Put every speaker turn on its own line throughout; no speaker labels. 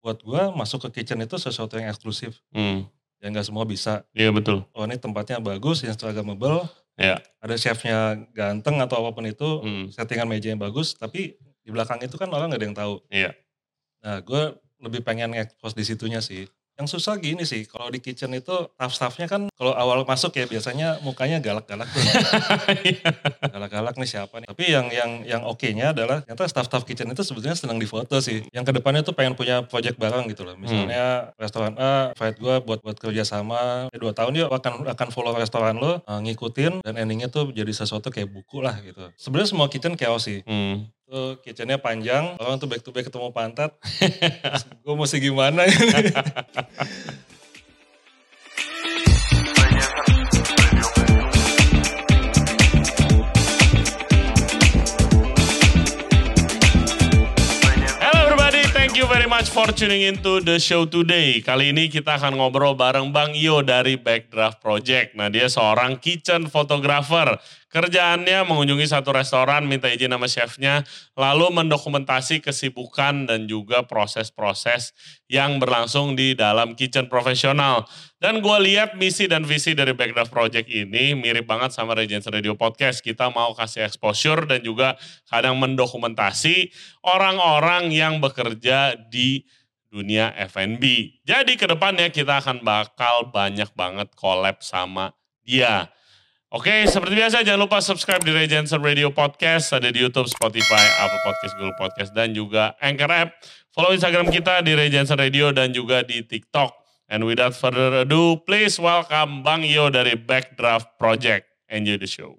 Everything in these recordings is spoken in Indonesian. Buat gue masuk ke kitchen itu sesuatu yang eksklusif,
Hmm,
yang gak semua bisa.
iya betul.
Oh ini tempatnya bagus, instagramable,
Ya.
ada chefnya ganteng atau apapun itu,
Hmm,
settingan meja yang bagus, tapi di belakang itu kan orang gak ada yang tahu.
Iya.
Nah gue lebih pengen nge-expose di situnya sih. Yang susah gini sih, kalau di kitchen itu staff-staffnya kan kalau awal masuk ya biasanya mukanya galak-galak tuh. galak-galak nih siapa nih. Tapi yang yang yang oke-nya adalah ternyata staff-staff kitchen itu sebetulnya senang difoto sih. Yang kedepannya tuh pengen punya project bareng gitu loh. Misalnya restoran A, fight gue buat buat kerjasama. Ya, dua tahun dia akan akan follow restoran lo, eh, ngikutin dan endingnya tuh jadi sesuatu kayak buku lah gitu. Sebenarnya semua kitchen chaos sih.
hmm.
Tuh kitchennya panjang, orang tuh back to back ketemu pantat. gue mesti gimana ini?
Hello everybody, thank you very much for tuning into the show today. Kali ini kita akan ngobrol bareng Bang Yo dari Backdraft Project. Nah dia seorang kitchen photographer. Kerjaannya mengunjungi satu restoran, minta izin sama chefnya, lalu mendokumentasi kesibukan dan juga proses-proses yang berlangsung di dalam kitchen profesional. Dan gue lihat misi dan visi dari Backdraft Project ini mirip banget sama Regency Radio Podcast. Kita mau kasih exposure dan juga kadang mendokumentasi orang-orang yang bekerja di dunia F&B. Jadi ke depannya kita akan bakal banyak banget collab sama dia. Oke, seperti biasa jangan lupa subscribe di Regency Radio Podcast, ada di YouTube, Spotify, Apple Podcast, Google Podcast, dan juga Anchor App. Follow Instagram kita di Regency Radio dan juga di TikTok. And without further ado, please welcome Bang Yo dari Backdraft Project. Enjoy the show.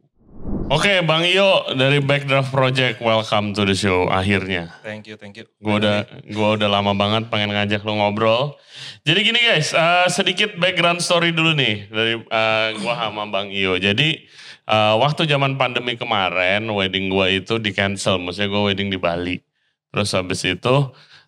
Oke, Bang Iyo dari Backdraft Project, welcome to the show akhirnya.
Thank you, thank you.
Gue udah gua udah lama banget pengen ngajak lo ngobrol. Jadi gini guys, eh, sedikit background story dulu nih dari eh, gua sama Bang Iyo. Jadi eh, waktu zaman pandemi kemarin, wedding gua itu di cancel. Maksudnya gue wedding di Bali. Terus habis itu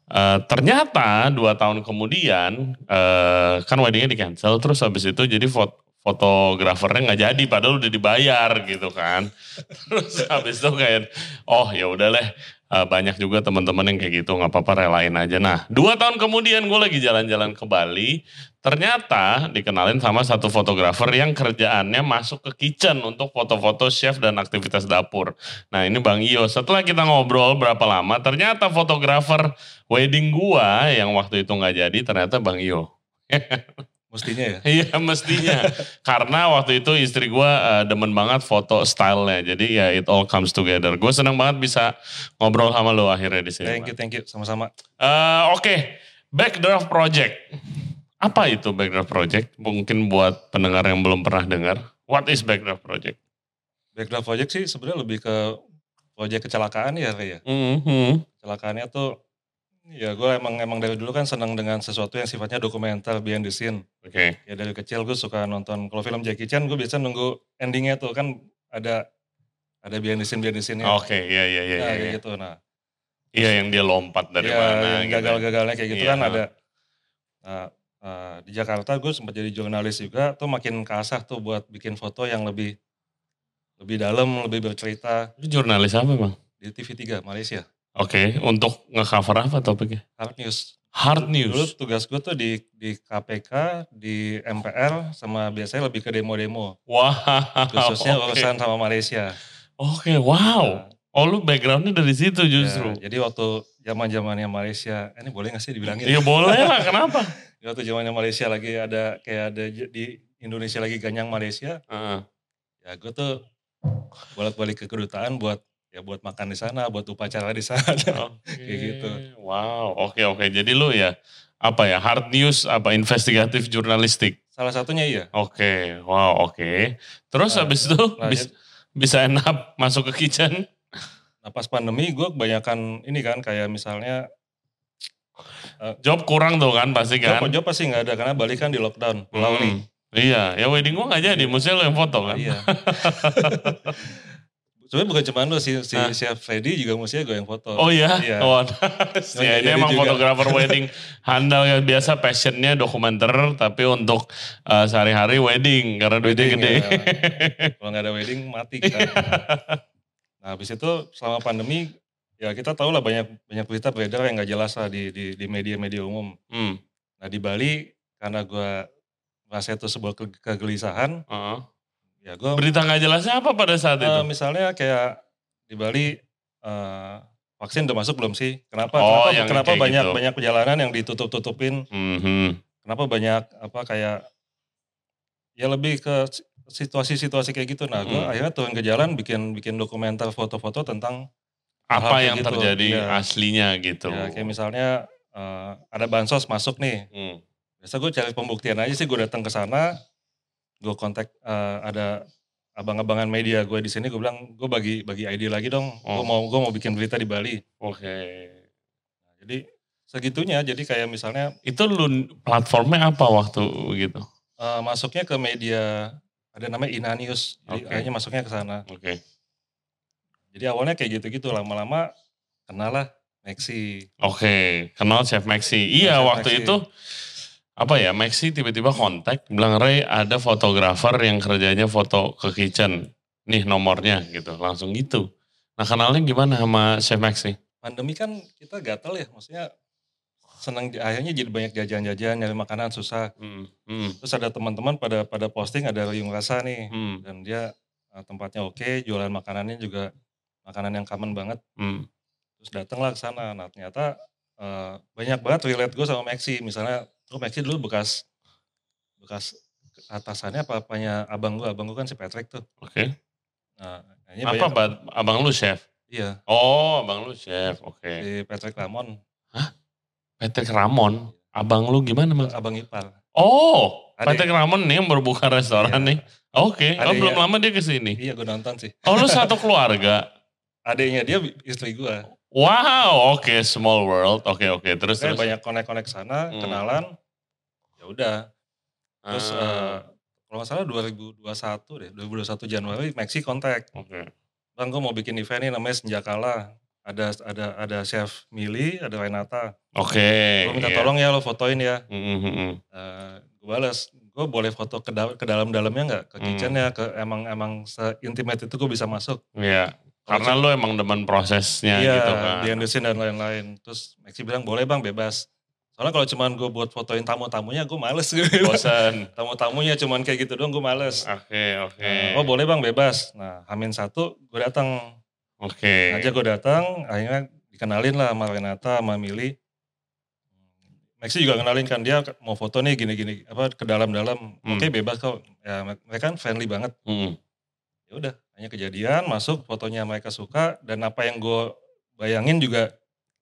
eh, ternyata dua tahun kemudian eh, kan weddingnya di cancel. Terus habis itu jadi foto fotografernya nggak jadi padahal udah dibayar gitu kan terus habis itu kayak oh ya udah leh Eh, banyak juga teman-teman yang kayak gitu nggak apa-apa relain aja. Nah, dua tahun kemudian gue lagi jalan-jalan ke Bali, ternyata dikenalin sama satu fotografer yang kerjaannya masuk ke kitchen untuk foto-foto chef dan aktivitas dapur. Nah, ini Bang Iyo. Setelah kita ngobrol berapa lama, ternyata fotografer wedding gua yang waktu itu nggak jadi ternyata Bang Iyo.
Mestinya ya.
Iya mestinya. Karena waktu itu istri gua eh, demen banget foto stylenya. Jadi ya it all comes together. Gue senang banget bisa ngobrol sama lo akhirnya di sini.
Thank you, thank
Bang.
you. Sama-sama.
Eh, Oke, Backdraft Project. Apa itu Backdraft Project? Mungkin buat pendengar yang belum pernah dengar. What is Backdraft Project?
Backdraft project sih sebenarnya lebih ke project kecelakaan ya kayak. Mm-hmm.
Mhm.
Kecelakaannya tuh ya gue emang emang dari dulu kan senang dengan sesuatu yang sifatnya dokumenter behind the scene.
Oke.
Ya dari kecil gue suka nonton kalau film Jackie Chan gue biasa nunggu endingnya tuh kan ada ada behind the scene behind the scene-nya.
Oke, iya
Ya.
iya iya
Nah,
iya.
kayak
iya.
gitu. Nah,
Iya yang dia lompat dari
ya,
mana
yang
gitu.
gagal-gagalnya kayak gitu
Iya.
kan ada. Nah, eh, di Jakarta gue sempat jadi jurnalis juga, tuh makin kasah tuh buat bikin foto yang lebih lebih dalam, lebih bercerita
Lu jurnalis apa, Bang?
di TV3 Malaysia,
Oke, untuk ngecover apa topiknya?
Hard News.
Hard
Dulu
news.
tugas gue tuh di di KPK, di MPR, sama biasanya lebih ke demo-demo,
Wah.
khususnya
oke.
urusan sama Malaysia.
Oke, wow.
Nah,
Oh lu backgroundnya dari situ
ya,
justru.
jadi waktu zaman zamannya Malaysia, eh, ini boleh gak sih dibilangin?
Iya boleh lah, kenapa?
Jadi Waktu zamannya Malaysia lagi ada kayak ada j- di Indonesia lagi ganyang Malaysia,
Heeh.
ya gue tuh bolak-balik ke kedutaan buat ya buat makan di sana, buat upacara di sana.
Oke.
Kayak gitu.
Wow, oke oke. Jadi lu ya apa ya hard news apa investigatif jurnalistik.
Salah satunya iya.
Oke, wow oke. Terus
Nah,
habis itu bis-
Lanjut,
bisa end up masuk ke kitchen.
nah pas pandemi gue kebanyakan ini kan kayak misalnya
Job kurang tuh kan pasti kan.
job, job pasti nggak ada karena balik kan di lockdown pulau nih.
Hmm. Iya, ya wedding gua gak jadi, mesti lu yang foto kan.
Iya. Sebenarnya bukan cuma lu si si
Hah?
Chef Freddy juga mestinya gue yang foto.
Oh iya,
Iya.
oh, nice.
Iya,
ya, ini
jadi
emang
juga.
fotografer wedding handal yang biasa passionnya dokumenter, tapi untuk eh, sehari-hari wedding karena duitnya
Wedding,
gede. Iya.
ya. Kalau nggak ada wedding mati kita. nah habis itu selama pandemi ya ya kita tahu lah banyak banyak berita beredar yang nggak jelas lah di di di media-media umum.
Hmm.
Nah di Bali karena gue merasa itu sebuah ke- kegelisahan,
heeh.
ya gue
Berita nggak jelasnya apa pada saat itu?
Eh, misalnya kayak di Bali eh, vaksin udah masuk belum sih? Kenapa? kenapa
Oh, yang
kenapa
kayak
banyak
gitu.
banyak perjalanan yang ditutup-tutupin?
Mhm.
Kenapa banyak apa kayak ya lebih ke si- situasi-situasi kayak gitu. Nah, gue
Hmm.
akhirnya turun ke jalan bikin bikin dokumenter foto-foto tentang ya
Apa
Hal-hal kayak
yang
gitu,
terjadi
iya.
aslinya gitu?
ya, kayak misalnya eh, ada bansos masuk nih.
Hmm.
Biasa gue cari pembuktian aja sih gue datang ke sana, gue kontak eh, ada abang-abangan media gue di sini gue bilang gue bagi bagi ID lagi dong.
Oh.
Gue mau gue mau bikin berita di Bali.
Oke.
Nah, jadi segitunya, jadi kayak misalnya
Itu lu platformnya apa waktu gitu?
eh, masuknya ke media ada namanya Inanius, jadi
Oke.
akhirnya masuknya ke sana.
Oke.
Jadi awalnya kayak gitu-gitu, lama-lama kenal lah Maxi.
Oke, kenal Chef Maxi. Iya,
Chef
waktu
Maxi.
itu apa ya? Maxi tiba-tiba kontak bilang Ray ada fotografer yang kerjanya foto ke kitchen. Nih nomornya gitu, langsung gitu. Nah, kenalnya gimana sama Chef Maxi?
Pandemi kan kita gatel ya, maksudnya senang akhirnya jadi banyak jajan-jajan, nyari makanan susah.
Hmm, hmm,
Terus ada teman-teman pada pada posting ada Ryung Rasa nih,
hmm,
dan dia eh, tempatnya oke, jualan makanannya juga makanan yang common banget.
hmm.
terus datanglah ke sana nah ternyata eh, banyak banget relate gue sama Maxi misalnya gue Maxi dulu bekas bekas atasannya apa apanya abang gue abang gue kan si Patrick tuh
Oke.
nah kayaknya banyak-
Apa ba- abang lu chef?
iya
Oh, abang lu chef. Oke.
si Patrick Lamon
Patrick Ramon, abang lu gimana mas?
abang ipar
Oh,
Adik.
Patrick Ramon nih yang berbuka restoran
Iya. ya.
nih. Oke, oh,
Adiknya.
belum lama dia kesini.
iya gue nonton sih
Oh, lu satu keluarga.
adiknya dia bi- istri gue
Wow, oke small world, oke oke terus
saya
terus.
banyak konek-konek sana
Hmm.
kenalan ya udah terus
Ah,
eh, kalau nggak salah 2021 deh 2021 Januari Maxi kontak
oke.
Bang, gue mau bikin event nih namanya Senjakala. Ada ada ada chef Mili, ada Renata.
Oke.
Gue minta
iya.
tolong ya lo fotoin ya. Eh,
Mm, mm, mm, mm.
gue balas, gue boleh foto ke, da- ke dalam-dalamnya nggak? Ke
Hmm.
kitchennya, ke emang emang se-intimate itu gue bisa masuk.
Iya. Karena lu emang demen prosesnya
Iya,
gitu kan.
di Indonesia dan lain-lain. Terus Maxi bilang boleh bang, bebas. Soalnya kalau cuman gue buat fotoin tamu-tamunya, gue males gitu.
Bosan.
Tamu-tamunya cuman kayak gitu doang, gue males.
Oke oke.
Nah, oh boleh bang, bebas. Nah, Hamin satu, gue datang
Oke.
aja gue datang akhirnya dikenalin lah sama Renata sama Mili Maxi juga kenalin kan dia mau foto nih gini-gini apa ke dalam-dalam
Hmm.
oke bebas kok ya mereka kan friendly banget
Mm.
ya udah hanya kejadian masuk fotonya mereka suka dan apa yang gue bayangin juga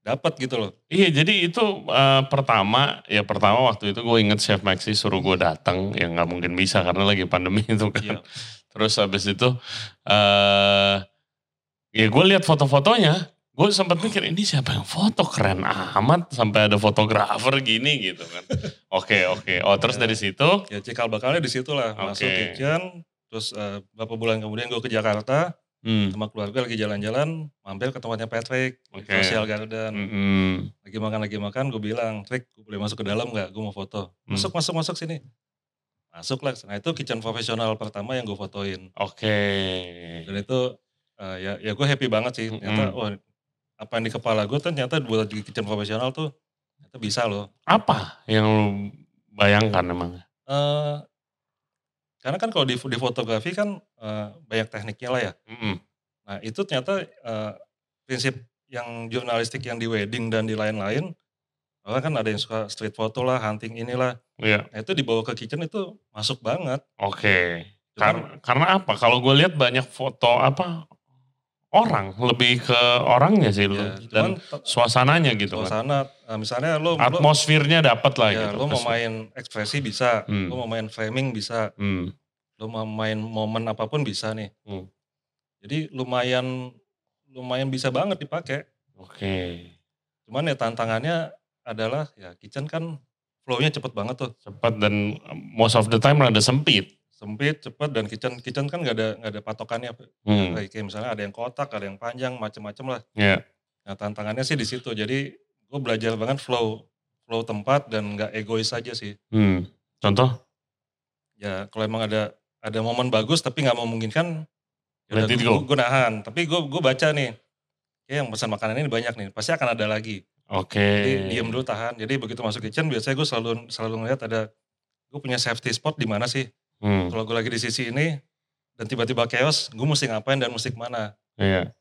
dapat gitu loh
Iya jadi itu eh, pertama ya pertama waktu itu gue inget Chef Maxi suruh gue datang ya nggak mungkin bisa karena lagi pandemi itu kan.
Iya.
Terus habis itu eh ya gue lihat foto-fotonya, gue sempat mikir ini siapa yang foto keren amat sampai ada fotografer gini gitu kan. Oke oke. Oh terus dari situ,
ya cikal bakalnya di situ lah masuk
Oke.
kitchen terus eh, beberapa bulan kemudian gue ke Jakarta
hmm,
sama keluarga lagi jalan-jalan mampir ke tempatnya Patrick di
Oke.
Social Garden
mm-mm.
lagi makan lagi makan gue bilang Rick gue boleh masuk ke dalam nggak gue mau foto
Hmm.
masuk masuk masuk sini masuk lah nah itu kitchen profesional pertama yang gue fotoin
oke.
dan itu eh, ya ya gue happy banget sih ternyata
Mm-mm.
wah, apa yang di kepala gue ternyata buat di kitchen profesional tuh ternyata bisa loh
Apa yang lu bayangkan emang?
Eh, karena kan kalau di, di fotografi kan eh, banyak tekniknya lah ya
Mm-mm.
nah itu ternyata eh, prinsip yang jurnalistik yang di wedding dan di lain-lain orang kan ada yang suka street photo lah hunting inilah
Iya.
Nah, itu dibawa ke kitchen itu masuk banget.
Oke.
Cuman, ya,
Karena, karena apa? Kalau gue lihat banyak foto apa orang lebih ke orangnya sih lu
ya, cuman
dan
te-
suasananya gitu kan.
suasana, eh, misalnya lo, lo,
Atmosfernya dapat lah
ya, lo
gitu.
mau
Kesu-
main ekspresi bisa,
Hmm.
lo mau main framing bisa,
Hmm.
lo mau main momen apapun bisa nih.
Hmm.
Jadi lumayan lumayan bisa banget dipakai.
Oke.
Cuman ya tantangannya adalah ya kitchen kan flow-nya cepet banget tuh.
Cepat dan um, most of the time rada sempit.
Sempit, cepet dan kitchen kitchen kan nggak ada nggak ada patokannya.
Hmm.
Kayak kayak misalnya ada yang kotak, ada yang panjang, macem-macem lah.
Ya.
Nah tantangannya sih di situ. Jadi gue belajar banget flow flow tempat dan nggak egois aja sih.
Hmm. Contoh?
Ya kalau emang ada ada momen bagus tapi nggak memungkinkan, ya
Let it go.
gue nahan. Tapi gue gue baca nih ya yang pesan makanan ini banyak nih, pasti akan ada lagi.
Oke.
Jadi diem dulu tahan. Jadi begitu masuk kitchen biasanya gue selalu selalu ngeliat ada gue punya safety spot di mana sih?
Hmm,
Kalau gue lagi di sisi ini dan tiba-tiba chaos, gue mesti ngapain dan mesti kemana?
iya.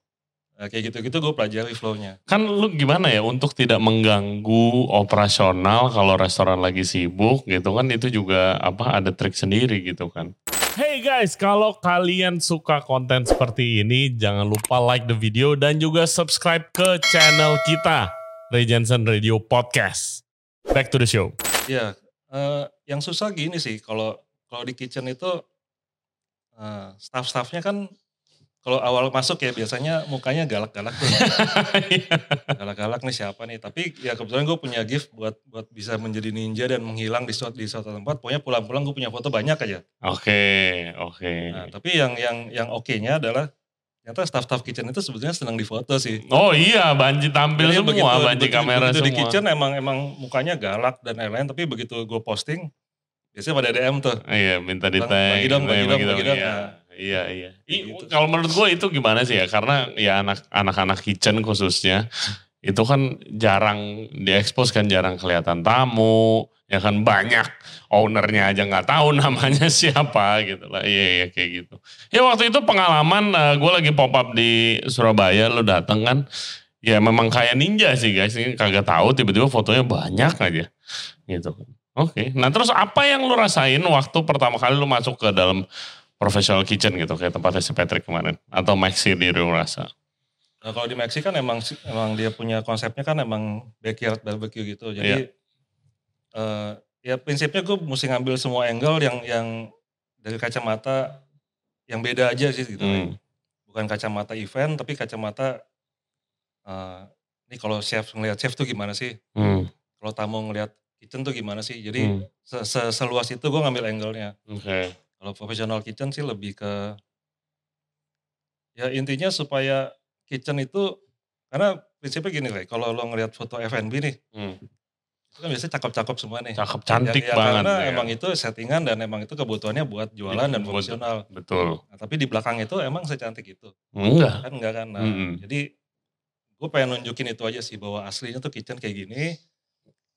Nah, kayak gitu-gitu gue pelajari flow-nya.
Kan lu gimana ya untuk tidak mengganggu operasional kalau restoran lagi sibuk gitu kan itu juga apa ada trik sendiri gitu kan. Hey guys, kalau kalian suka konten seperti ini jangan lupa like the video dan juga subscribe ke channel kita Regensen Radio Podcast. Back to the show.
Iya, eh, yang susah gini sih kalau kalau di kitchen itu eh, staff-staffnya kan kalau awal masuk ya biasanya mukanya galak-galak tuh. galak-galak nih siapa nih tapi ya kebetulan gue punya gift buat buat bisa menjadi ninja dan menghilang di suatu di suatu tempat pokoknya pulang-pulang gue punya foto banyak aja
Oke, oke.
nah, tapi yang yang yang oke nya adalah ternyata staff-staff kitchen itu sebetulnya senang difoto sih
Oh iya, banji tampil
Jadi
semua, banji
begitu-
kamera
begitu di
semua.
kitchen emang emang mukanya galak dan lain-lain tapi begitu gue posting biasanya pada DM tuh
Iya, minta di
Bang,
tag.
bagi dong, bagi dong, bagi dong.
Iya,
Nah.
iya. iya.
Kayak
Ih,
gitu.
Kalau menurut gue itu gimana sih ya? Karena ya anak- anak-anak kitchen khususnya itu kan jarang diekspos kan jarang kelihatan tamu ya kan banyak ownernya aja nggak tahu namanya siapa gitu lah iya iya kayak gitu ya waktu itu pengalaman gue lagi pop up di Surabaya lu dateng kan ya memang kayak ninja sih guys ini kagak tahu tiba-tiba fotonya banyak aja gitu kan. Oke, nah terus apa yang lu rasain waktu pertama kali lu masuk ke dalam professional kitchen gitu kayak tempatnya si Patrick kemarin atau Maxi di Rio Rasa?
Nah, kalau di Meksi kan emang emang dia punya konsepnya kan emang backyard barbecue gitu.
Iya.
Jadi eh, ya prinsipnya gue mesti ngambil semua angle yang yang dari kacamata yang beda aja sih gitu.
Hmm.
Bukan kacamata event tapi kacamata eh, ini kalau chef ngelihat chef tuh gimana sih?
Hmm.
Kalau tamu ngelihat kitchen tuh gimana sih? Jadi
hmm.
se- se- seluas itu gue ngambil angle-nya.
Oke.
Kalau professional kitchen sih lebih ke ya intinya supaya kitchen itu karena prinsipnya gini lah, kalau lo ngelihat foto F&B nih,
Hmm.
itu kan biasanya cakep-cakep semua nih.
Cakep cantik
Ya- ya
banget.
Karena
ya.
emang itu settingan dan emang itu kebutuhannya buat jualan dan
Buat-
profesional.
betul.
Nah, tapi di belakang itu emang secantik itu.
Enggak.
Kan enggak kan. Nah,
Mm-mm.
Jadi gue pengen nunjukin itu aja sih bahwa aslinya tuh kitchen kayak gini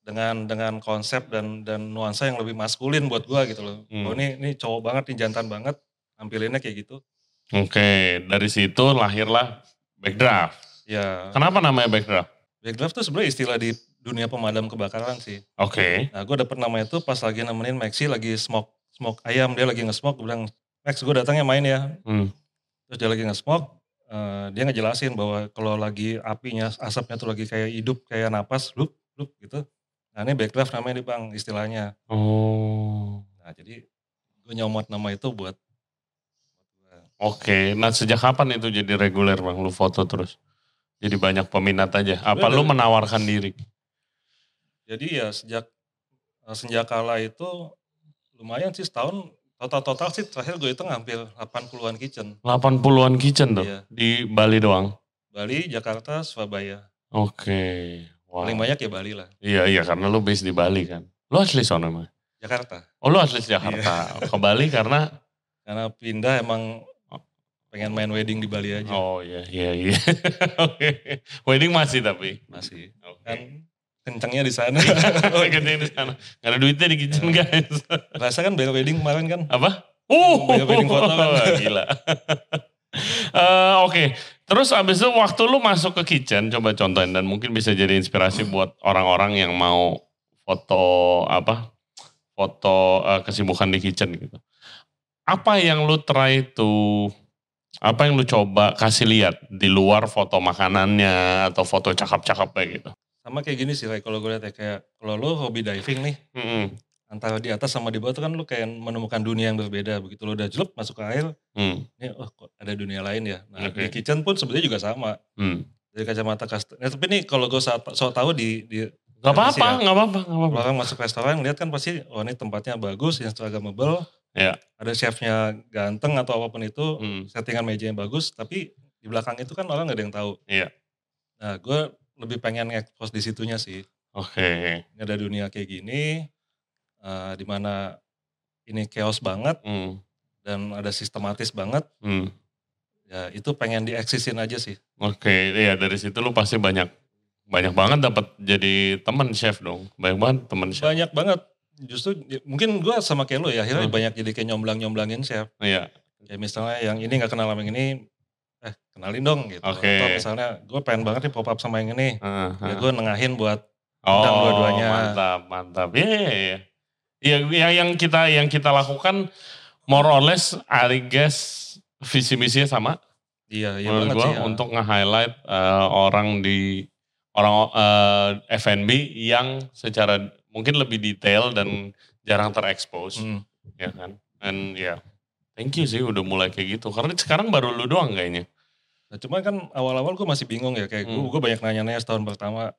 dengan dengan konsep dan dan nuansa yang lebih maskulin buat gua gitu loh.
Hmm.
Oh ini ini cowok banget, ini jantan banget, tampilinnya kayak gitu.
Oke, dari situ lahirlah backdraft.
Ya
Kenapa namanya backdraft?
backdraft tuh sebenarnya istilah di dunia pemadam kebakaran sih.
Oke.
Nah gue dapet namanya tuh pas lagi nemenin Maxi lagi smoke smoke ayam dia lagi nge-smoke gue bilang Max gue datangnya main ya
Hmm.
terus dia lagi nge-smoke eh, dia ngejelasin bahwa kalau lagi apinya asapnya tuh lagi kayak hidup kayak napas lup lup gitu nah ini backdraft namanya nih bang istilahnya
Oh.
nah jadi gue nyomot nama itu buat
Oke, nah sejak kapan itu jadi reguler bang? Lu foto terus? Jadi banyak peminat aja.
Sebenarnya
Apa lu
dari-
menawarkan diri?
jadi ya sejak eh, senja kala itu lumayan sih setahun total-total sih terakhir gue hitung hampir 80-an kitchen
80-an kitchen tuh
Iya.
di Bali doang.
Bali, Jakarta, Surabaya
Oke. Wow.
paling banyak ya Bali lah
Iya iya karena lu base di Bali kan. Lu asli sono emang.
Jakarta
Oh lu asli Jakarta. Ke Bali karena
Karena pindah emang pengen main wedding di Bali aja.
oh iya iya iya. Oke. Wedding masih tapi.
Masih.
Oke.
Kan kencangnya di sana.
Oh, Kerjain di sana. Gak ada duitnya di kitchen guys.
Rasa kan bayar wedding kemarin kan.
Apa? Uh,
Banyak wedding foto kan.
gila. Eh, Oke, terus abis itu waktu lu masuk ke kitchen, coba contohin dan mungkin bisa jadi inspirasi buat orang-orang yang mau foto apa, foto eh, kesibukan di kitchen gitu. Apa yang lu try to, apa yang lu coba kasih lihat di luar foto makanannya atau foto cakep-cakepnya gitu?
Sama kayak gini sih, Ray, kalau gue lihat ya, kayak kalau lo hobi diving nih,
Mm-mm.
antara di atas sama di bawah tuh kan lo kayak menemukan dunia yang berbeda. Begitu lo udah jelup masuk ke air,
Hmm,
ini oh kok ada dunia lain ya. Nah
Oke.
di kitchen pun sebenarnya juga sama.
hmm.
Dari kacamata customer. Nah, tapi nih kalau gue so, tahu di, di ya.
Gak apa-apa,
Siap.
gak apa-apa, gak
kalau
apa-apa.
orang masuk restoran lihat kan pasti oh ini tempatnya bagus, instagramable,
Iya.
ada chefnya ganteng atau apapun itu,
Hmm,
settingan mejanya bagus, tapi di belakang itu kan orang nggak ada yang tahu.
Iya.
Nah, gue lebih pengen ekspos di situnya sih.
Oke.
Ini ada dunia kayak gini, eh di mana ini chaos banget
Hmm,
dan ada sistematis banget.
hmm.
Ya Ya, itu pengen dieksisin aja sih.
Oke, iya dari situ lu pasti banyak banyak banget dapat jadi teman chef dong. Banyak banget teman chef.
Banyak banget. Justru ya, mungkin gue sama kayak lo ya, akhirnya
Hmm.
banyak jadi kayak nyomblang-nyomblangin chef.
Iya.
Kayak misalnya yang ini gak kenal sama yang ini, eh kenalin dong gitu.
Oke.
Atau misalnya gue pengen banget nih pop up sama yang ini.
Heeh,
Ya
heeh.
gue nengahin buat undang
Oh,
dua-duanya.
mantap, mantap. Iya, iya, iya. Ya, yang, yang kita yang kita lakukan more or less I guess visi misinya sama
dia ya
menurut
banget
gua
sih. ya.
untuk nge-highlight eh, orang di orang eh, F&B yang secara mungkin lebih detail dan jarang terekspos.
Hmm.
ya kan and ya thank you sih udah mulai kayak gitu karena sekarang baru lu doang kayaknya
Nah, cuman kan awal-awal gue masih bingung ya, kayak
Hmm.
gue banyak nanya-nanya setahun pertama,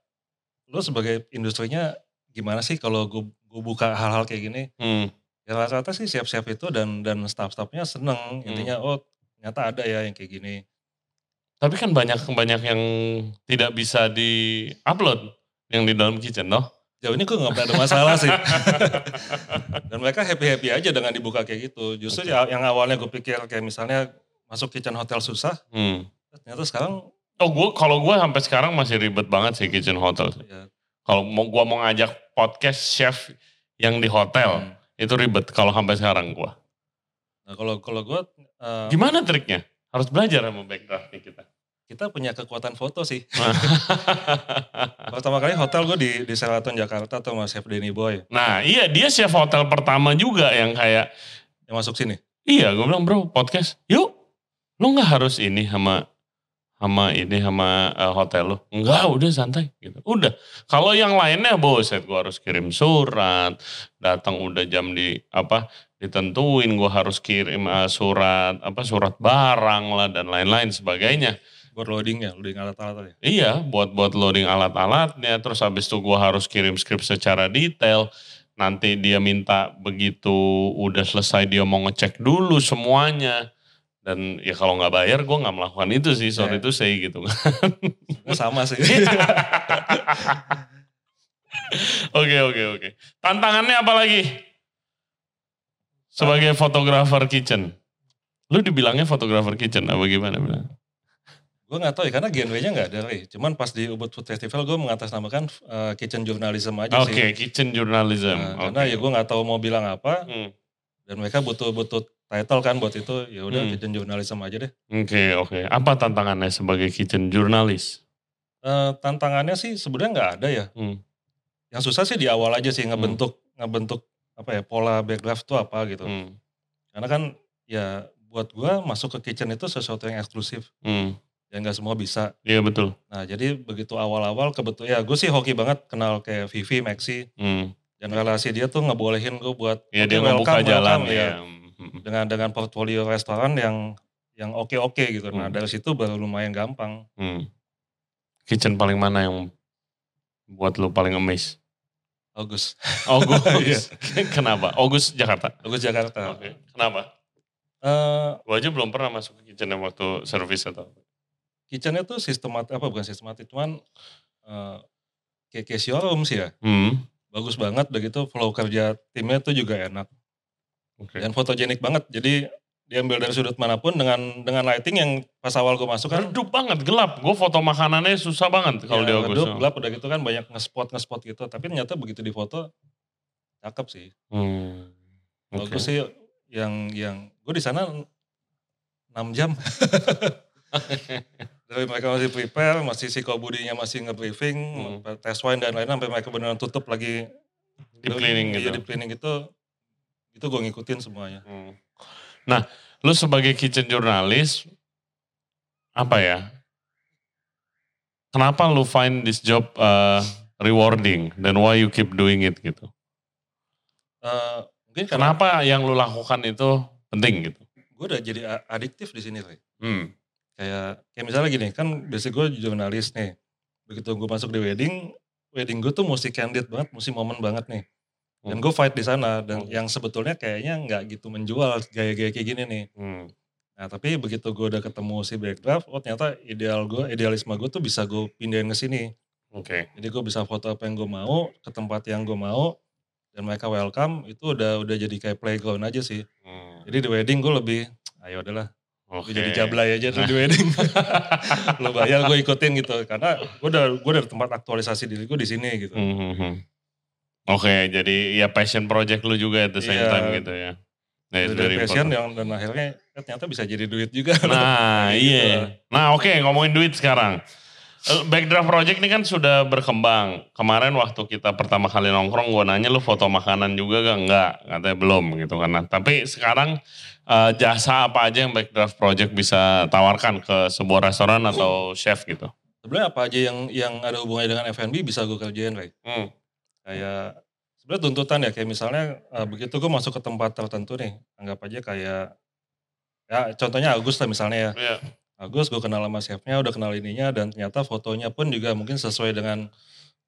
lo sebagai industrinya gimana sih kalau gue buka hal-hal kayak gini?
hmm.
Ya rata-rata sih siap-siap itu dan dan staff-staffnya seneng, intinya
Hmm.
oh ternyata ada ya yang kayak gini.
tapi kan banyak banyak yang tidak bisa di upload yang di dalam kitchen loh
Jauh ini gue gak pernah ada masalah sih. dan mereka happy-happy aja dengan dibuka kayak gitu. Justru
Oke.
ya yang awalnya gue pikir kayak misalnya masuk kitchen hotel susah,
hmm.
ternyata sekarang
oh gue kalau gue sampai sekarang masih ribet banget sih kitchen hotel
ya,
kalau mau gue mau ngajak podcast chef yang di hotel
hmm.
itu ribet kalau sampai sekarang gue
Nah, kalau kalau gue eh,
gimana triknya harus belajar sama backdraft nih kita
kita punya kekuatan foto sih.
Nah.
Pertama kali hotel gue di di Sheraton Jakarta tuh sama Chef Denny Boy
nah iya dia chef hotel pertama juga yang kayak
yang masuk sini.
Iya, gue bilang bro podcast. Yuk, lo nggak harus ini sama sama ini sama eh, hotel lo. Enggak, udah santai. Gitu. Udah. Kalau yang lainnya boset, gue harus kirim surat. Datang udah jam di apa ditentuin, gue harus kirim eh, surat apa surat barang lah dan lain-lain sebagainya.
Buat loadingnya, loading alat-alat ya.
Iya, buat buat loading alat-alatnya. Terus habis itu gue harus kirim skrip secara detail. Nanti dia minta begitu udah selesai dia mau ngecek dulu semuanya. Dan ya kalau nggak bayar gue nggak melakukan itu sih.
Iya.
Sorry itu saya gitu. Oke
Sebenarnya sama sih.
Iya. oke oke. Tantangannya apa lagi? Sebagai fotografer kitchen. Lu dibilangnya fotografer kitchen apa gimana bilang?
gue gak tahu ya, karena genre-nya gak ada. Ri. Cuman pas di Ubud Food Festival gue mengatasnamakan eh, kitchen journalism aja sih.
Oke, kitchen journalism.
Nah,
Oke.
Karena ya gue gak tahu mau bilang apa,
Hmm.
dan mereka butuh-butuh title kan buat itu, ya udah
Hmm.
kitchen journalism aja deh.
Oke, oke. Apa tantangannya sebagai kitchen jurnalis?
Eh, tantangannya sih sebenarnya nggak ada ya.
Hmm.
Yang susah sih di awal aja sih ngebentuk ngebentuk apa ya pola backdraft tuh apa gitu.
Hmm.
Karena kan ya buat gua masuk ke kitchen itu sesuatu yang eksklusif
Hmm.
yang nggak semua bisa.
Iya betul.
Nah jadi begitu awal-awal kebetul ya gue sih hoki banget kenal kayak Vivi, Maxi
Hmm.
dan relasi dia tuh ngebolehin gue buat oke,
Iya dia ngebuka
welcome,
jalan
welcome,
ya.
ya.
Hmm.
dengan dengan portfolio restoran yang yang oke-oke gitu. Nah
Hmm.
dari situ baru lumayan gampang.
Hmm. Kitchen paling mana yang buat lu paling amazed?
Agus, Iya.
Ogus. Kenapa? Ogus Jakarta.
Agus Jakarta.
Oke. Kenapa?
Eh,
Gua aja belum pernah masuk ke kitchen yang waktu service atau.
kitchennya tuh sistematik apa bukan sistematik cuman eh, kayak kayak showroom sih ya
Hmm.
bagus banget begitu flow kerja timnya tuh juga enak
Oke.
dan fotogenik banget jadi diambil dari sudut manapun dengan dengan lighting yang pas awal gue masuk kan
Redup banget, gelap. Gue foto makanannya susah banget kalau oh.
ya,
di Ogus.
redup, gelap udah gitu kan banyak ngespot ngespot gitu tapi ternyata begitu difoto cakep sih
Hmm.
Kalau
Oke.
gue sih yang yang gue di sana 6 jam dari mereka masih prepare, masih psikobudinya masih nge-briefing,
Hmm.
tes wine dan lain-lain sampai mereka beneran tutup lagi
Di cleaning
Iya,
gitu.
di planning itu itu gue ngikutin semuanya.
Hmm. Nah, lu sebagai kitchen jurnalis, apa ya? Kenapa lu find this job uh, rewarding dan why you keep doing it gitu?
Eh, mungkin karena
Kenapa yang lu lakukan itu penting gitu?
gue udah jadi a- adiktif di sini, Ri.
Hmm.
Kayak kayak misalnya gini, kan biasanya gue jurnalis nih. Begitu gue masuk di wedding, wedding gue tuh mesti candid banget, mesti momen banget nih. Dan gue fight di sana dan
Hmm.
yang sebetulnya kayaknya nggak gitu menjual gaya-gaya kayak gini nih.
Hmm.
Nah tapi begitu gue udah ketemu si Backdraft, oh ternyata ideal gue, idealisme gue tuh bisa gue pindahin ke sini.
Oke.
Jadi gue bisa foto apa yang gue mau, ke tempat yang gue mau, dan mereka welcome, itu udah udah jadi kayak playground aja sih.
Hmm.
"Ah, ya Jadi di wedding gue lebih, ayo adalah
Oke.
Gue jadi jablay aja tuh di wedding. Lo bayar gue ikutin gitu. Karena gue dari, gue dari tempat aktualisasi diri gue di sini gitu.
Mhm. Oke, jadi ya passion project lu juga at the same
Iya.
time gitu ya. Nah, itu
dari
very
passion
important.
yang dan akhirnya eh, ternyata bisa jadi duit juga.
Nah,
Gitu
iya.
lah.
Nah, oke ngomongin duit sekarang. Eh, Backdraft Project ini kan sudah berkembang. Kemarin waktu kita pertama kali nongkrong, gue nanya lu foto makanan juga gak? Enggak, katanya belum gitu karena. Tapi sekarang eh, jasa apa aja yang Backdraft Project bisa tawarkan ke sebuah restoran atau chef gitu?
Sebenarnya apa aja yang yang ada hubungannya dengan F&B bisa gue kerjain, Ray.
Hmm.
Kayak sebenarnya tuntutan ya kayak misalnya eh, begitu gue masuk ke tempat tertentu nih, anggap aja kayak ya contohnya Agus lah misalnya ya.
Iya.
Agus gue kenal sama chefnya, udah kenal ininya dan ternyata fotonya pun juga mungkin sesuai dengan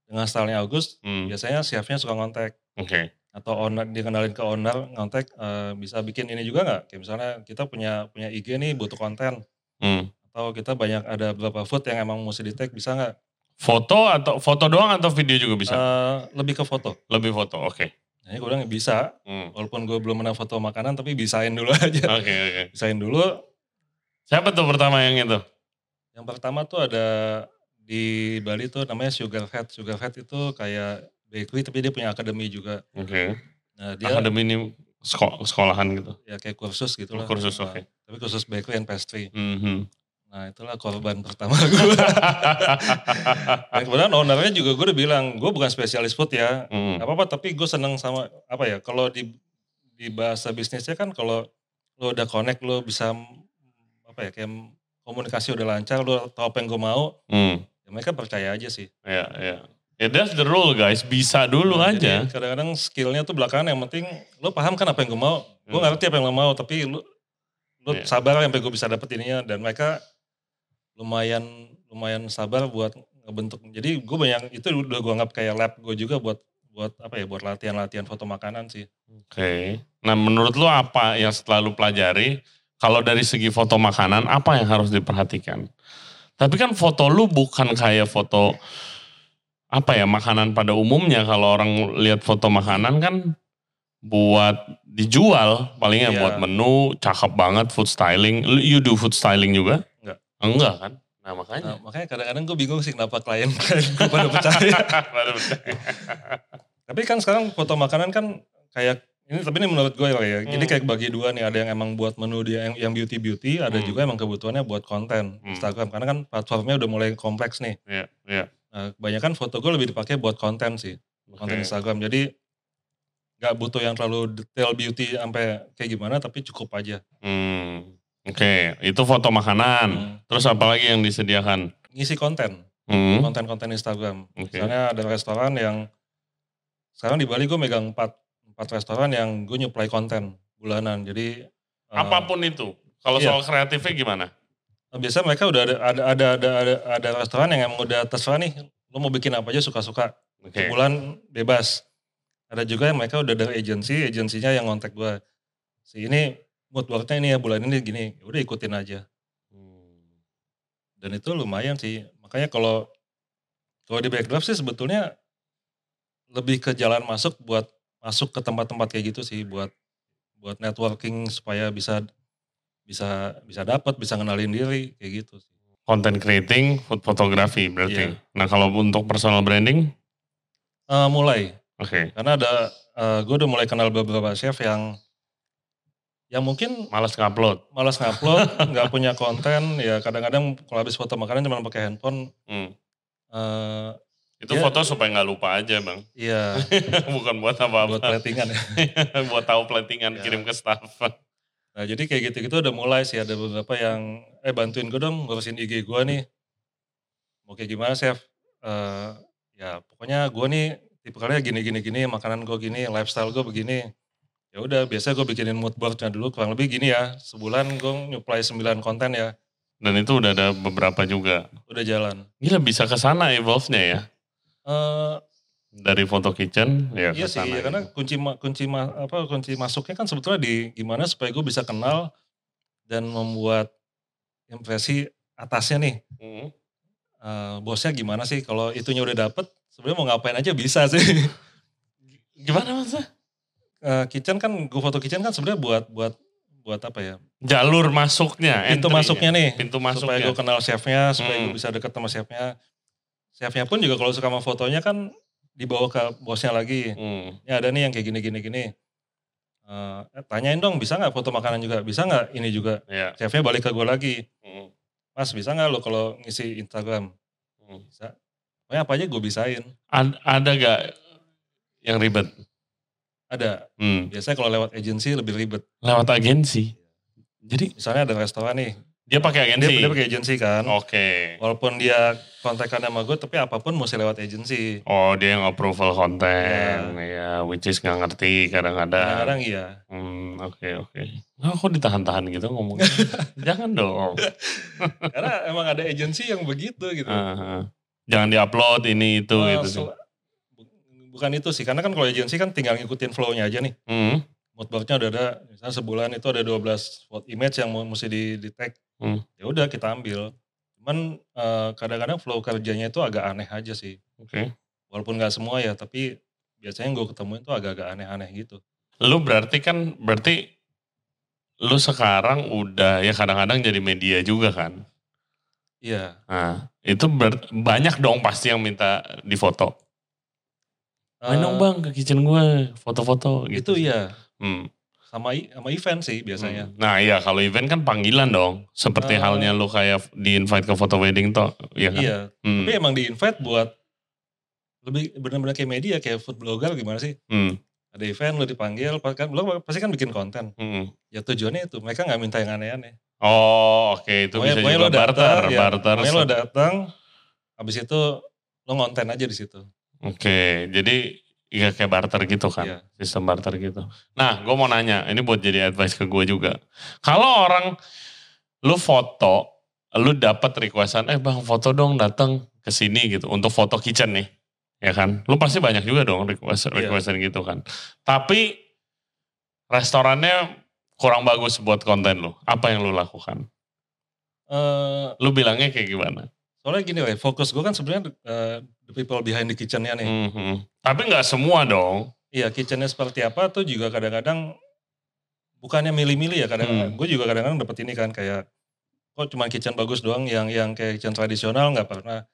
dengan stylenya Agus.
Hmm,
Biasanya chefnya suka ngontek
Oke.
atau owner dikenalin ke owner ngontek eh, bisa bikin ini juga nggak? Kayak misalnya kita punya punya IG nih butuh konten
Hmm.
atau kita banyak ada beberapa food yang emang mesti di tag bisa nggak?
Foto atau foto doang atau video juga bisa?
Eh, lebih ke foto.
Lebih foto, oke.
Jadi gue bilang bisa,
Hmm,
walaupun gue belum pernah foto makanan tapi bisain dulu aja.
Oke, oke.
Bisain dulu.
Siapa tuh pertama yang itu?
Yang pertama tuh ada di Bali tuh namanya Sugar Head. Sugar Head itu kayak bakery tapi dia punya akademi juga.
Oke.
Nah, dia
Akademi ini seko- sekolahan gitu.
ya kayak kursus gitu lah.
Oh, Kursus,
Nah,
oke.
Tapi kursus bakery and pastry.
Mhm.
Nah, itulah korban pertama gue. Dan kemudian Ah, ownernya juga gue udah bilang, gue bukan spesialis food ya.
Hmm.
Gak apa-apa, tapi gue seneng sama, apa ya, kalau di, di bahasa bisnisnya kan kalau lo udah connect, lo bisa, m- apa ya, kayak m- komunikasi udah lancar, lo tau apa yang gue mau,
Hmm.
ya mereka percaya aja sih.
Ya, ya. Ya that's the rule guys, bisa dulu
Nah, jadi
aja.
kadang-kadang skillnya tuh belakangan yang penting, lo paham kan apa yang gue mau, gue nggak ngerti apa yang lo mau, tapi lo, lo
Hmm. Iya.
sabar sampai gue bisa dapet ininya, dan mereka lumayan lumayan sabar buat ngebentuk. Jadi gue banyak, itu udah gue anggap kayak lab gue juga buat buat apa ya buat latihan-latihan foto makanan sih.
Oke. Nah, menurut lu apa yang selalu pelajari? Kalau dari segi foto makanan, apa yang harus diperhatikan? Tapi kan foto lu bukan kayak foto apa ya makanan pada umumnya. Kalau orang lihat foto makanan kan buat dijual, palingnya
Iya.
buat menu, cakep banget, food styling. Lu- You do food styling juga?
Enggak.
Enggak kan? Nah makanya.
Nah, makanya kadang-kadang gue bingung sih kenapa klien klien gue pada percaya.
Baru percaya.
tapi kan sekarang foto makanan kan kayak ini tapi ini menurut gue ya. Jadi
Hmm.
kayak bagi dua nih ada yang emang buat menu dia yang, yang beauty beauty, ada
Hmm.
juga emang kebutuhannya buat konten
Hmm.
Instagram karena kan platformnya udah mulai kompleks nih.
Iya, iya.
Nah, kebanyakan foto gue lebih dipakai buat konten sih, konten
Oke.
Instagram. Jadi nggak butuh yang terlalu detail beauty sampai kayak gimana tapi cukup aja.
Hmm. Oke, itu foto makanan.
Hmm.
Terus apa lagi yang disediakan?
Ngisi konten.
Hmm.
konten-konten Instagram.
Oke.
Misalnya ada restoran yang sekarang di Bali gue megang empat empat restoran yang gue nyuplai konten bulanan. Jadi eh,
Apapun itu. Kalau
Iya.
soal kreatifnya gimana?
biasanya mereka udah ada ada ada ada ada, ada restoran yang emang udah terserah nih lo mau bikin apa aja suka-suka.
Oke.
Bulan bebas. Ada juga yang mereka udah dari agensi, agensinya yang kontak gue. Si ini mood boardnya ini ya bulan ini gini, Ya udah ikutin aja.
Hmm.
dan itu lumayan sih makanya kalau kalau di backdraft sih sebetulnya lebih ke jalan masuk buat masuk ke tempat-tempat kayak gitu sih buat buat networking supaya bisa bisa bisa dapat bisa kenalin diri kayak gitu sih
Content creating, food photography berarti.
Iya.
Nah kalau untuk personal branding,
Eh, mulai
oke.
karena ada gue udah mulai kenal beberapa chef yang yang mungkin
Males ngupload.
malas ngupload nggak punya konten ya kadang-kadang kalau habis foto makanan cuma pakai handphone
Hmm.
eh
Itu
Iya.
foto supaya nggak lupa aja bang.
iya
Bukan buat apa-apa.
buat platingan ya
buat tahu plantingan
Iya.
kirim ke staff.
Nah jadi kayak gitu-gitu udah mulai sih ada beberapa yang eh bantuin gue dong ngurusin IG gue nih. Mau kayak gimana chef? Eh, ya pokoknya gue nih tipikalnya gini gini gini makanan gue gini lifestyle gue begini. Ya udah biasanya gue bikinin mood boardnya dulu kurang lebih gini ya sebulan gue nyuplai 9 konten ya
Dan itu udah ada beberapa juga.
udah jalan.
Gila bisa ke sana evolve-nya ya.
Eh
Dari foto kitchen ya
iya
ke
sih
sana.
ya, karena kunci ma- kunci ma- apa kunci masuknya kan sebetulnya di gimana supaya gue bisa kenal dan membuat impresi atasnya nih
Hmm.
Eh, bosnya gimana sih kalau itunya udah dapet sebenarnya mau ngapain aja bisa sih
Gimana maksudnya?
Eh, kitchen kan gue foto kitchen kan sebenarnya buat buat buat apa ya?
Jalur masuknya,
Pintu
entry-nya.
masuknya nih.
Ya, Pintu
supaya
masuknya.
gue kenal chefnya, supaya
Hmm.
gue bisa deket sama chefnya. Chefnya pun juga kalau suka sama fotonya kan dibawa ke bosnya lagi.
Hmm.
Ini ada nih yang kayak gini gini gini. Eh, tanyain dong bisa nggak foto makanan juga, bisa nggak ini juga.
Iya.
Chefnya balik ke gue lagi,
Hmm.
Mas bisa nggak lo kalau ngisi Instagram?
Hmm.
Bisa. Pokoknya apa aja gue bisain.
Ad- ada gak yang ribet?
Ada.
Hmm.
Biasanya kalau lewat agensi lebih ribet.
Lewat agensi. Jadi
Misalnya ada restoran nih,
dia pakai
dia,
agensi. Oh.
dia pakai agensi kan.
Oke.
Walaupun dia kontekan sama gue, tapi apapun mesti lewat agensi.
Oh dia yang approval konten, ya which is nggak ngerti kadang-kadang.
Kadang-kadang iya.
Hmm, Oke oke. Nah, kok ditahan-tahan gitu ngomongnya? Jangan dong.
Karena emang ada agensi yang begitu gitu.
Ah, jangan diupload ini itu
Nah,
gitu sih.
sel- bu- Bukan itu sih, karena kan kalau agensi kan tinggal ngikutin flow-nya aja nih.
Hmm,
Moodboardnya udah ada, misalnya sebulan itu ada 12 spot image yang mu- mesti di, di tag.
Hmm.
Ya udah kita ambil. Cuman eh, kadang-kadang flow kerjanya itu agak aneh aja sih.
Oke.
Walaupun nggak semua ya, tapi biasanya gue ketemuin tuh agak-agak aneh-aneh gitu.
Lu berarti kan berarti lu sekarang udah ya kadang-kadang jadi media juga kan.
Iya.
Nah, itu ber- banyak dong pasti yang minta difoto. Main dong
Eh,
bang ke kitchen gue foto-foto
Itu
gitu.
iya.
Hmm.
Sama i- sama event sih biasanya.
Hmm. Nah iya kalau event kan panggilan dong. Seperti
Eh.
halnya lu kayak di invite ke foto wedding toh. Iya kan?
Iya.
Hmm,
Tapi emang di invite buat lebih benar-benar kayak media kayak food blogger gimana sih?
hmm,
Ada event lo dipanggil, pa- kan lo pasti kan bikin konten.
hmm.
Ya tujuannya itu, mereka nggak minta yang aneh-aneh.
Oh oke itu bisa
pokoknya
juga barter.
ya,
barter.
pokoknya lo datang, habis itu lo ngonten aja di situ.
Oke jadi ya kayak barter gitu kan.
Iya.
Sistem barter gitu. Nah gue mau nanya ini buat jadi advice ke gue juga. Kalau orang lu foto lu dapat requestan eh bang foto dong datang ke sini gitu untuk foto kitchen nih ya kan lu pasti banyak juga dong request
Iya.
requestan gitu kan tapi restorannya kurang bagus buat konten lu apa yang lu lakukan
Eh,
lu bilangnya kayak gimana
soalnya gini lah, fokus gue kan sebenarnya eh, the people behind the kitchen-nya nih.
Mhm. tapi nggak semua dong
Iya, kitchen-nya seperti apa tuh juga kadang-kadang bukannya milih-milih ya kadang-kadang.
Hmm.
Gue juga kadang-kadang dapet ini kan kayak kok cuma kitchen bagus doang yang yang kayak kitchen tradisional nggak pernah.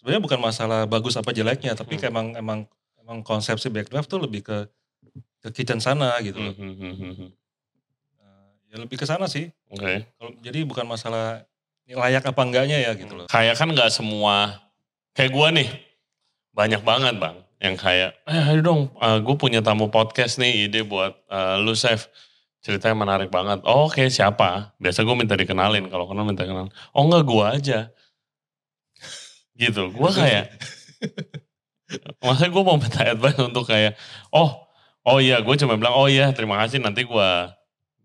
Sebenarnya bukan masalah bagus apa jeleknya, tapi
Hmm.
kayak emang emang emang konsepsi backdraft tuh lebih ke ke kitchen sana gitu loh.
Mhm.
Nah, Ya lebih ke sana sih.
oke
Kalau jadi bukan masalah ini layak apa enggaknya ya gitu loh.
kayak kan nggak semua kayak gua nih banyak banget bang yang kayak eh ayo dong gue punya tamu podcast nih ide buat eh, lu chef ceritanya menarik banget oh, oke siapa biasa gue minta dikenalin kalau kenal minta kenal oh enggak gua aja gitu gua kayak maksudnya gue mau minta advice untuk kayak oh oh iya gue cuma bilang oh iya terima kasih nanti gua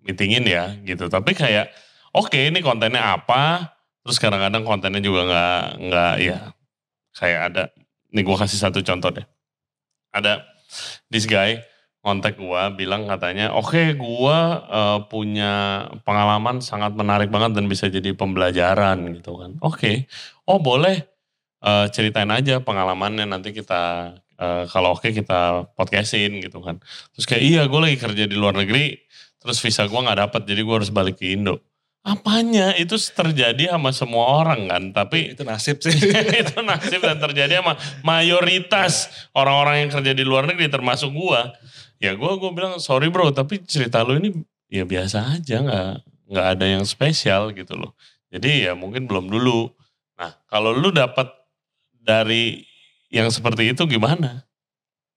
meetingin ya gitu tapi kayak oke ini kontennya apa terus kadang-kadang kontennya juga nggak nggak ya kayak ada nih gue kasih satu contoh deh ada this guy kontak gue bilang katanya oke gua eh, punya pengalaman sangat menarik banget dan bisa jadi pembelajaran gitu kan oke oh boleh eh, ceritain aja pengalamannya nanti kita eh, kalau oke kita podcastin gitu kan terus kayak iya gue lagi kerja di luar negeri terus visa gua nggak dapat jadi gua harus balik ke Indo apanya itu terjadi sama semua orang kan tapi
Itu nasib sih.
itu nasib dan terjadi sama mayoritas orang-orang yang kerja di luar negeri termasuk gua ya gua gua bilang sorry bro tapi cerita lu ini ya biasa aja nggak nggak ada yang spesial gitu loh jadi ya mungkin belum dulu nah kalau lu dapat dari yang seperti itu gimana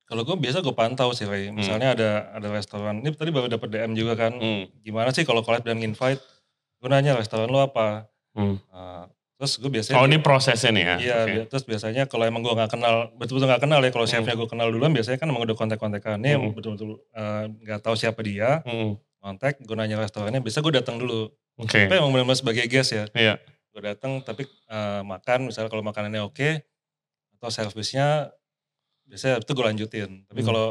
Kalau gue biasa gue pantau sih, Ray. Misalnya ada ada restoran. Ini tadi baru dapet DM juga kan.
hmm.
gimana sih kalau collab dan invite? Gue nanya restoran lo apa?
Hmm.
Nah, terus gue biasanya,
oh ini prosesnya nih ya
iya,
Oke.
bi- terus biasanya kalau emang gue nggak kenal, betul-betul nggak kenal ya kalau
Hmm.
chefnya gue kenal duluan, biasanya kan emang udah kontak-kontakan. Ini
Hmm.
betul-betul eh, nggak tahu siapa dia,
Hmm.
kontak, gue nanya restorannya, biasa gue datang dulu.
oke
Tapi emang benar-benar sebagai guest ya.
Iya.
Gue datang, tapi eh, makan, misalnya kalau makanannya oke, atau servisnya, biasanya itu gue lanjutin. Tapi
Hmm.
kalau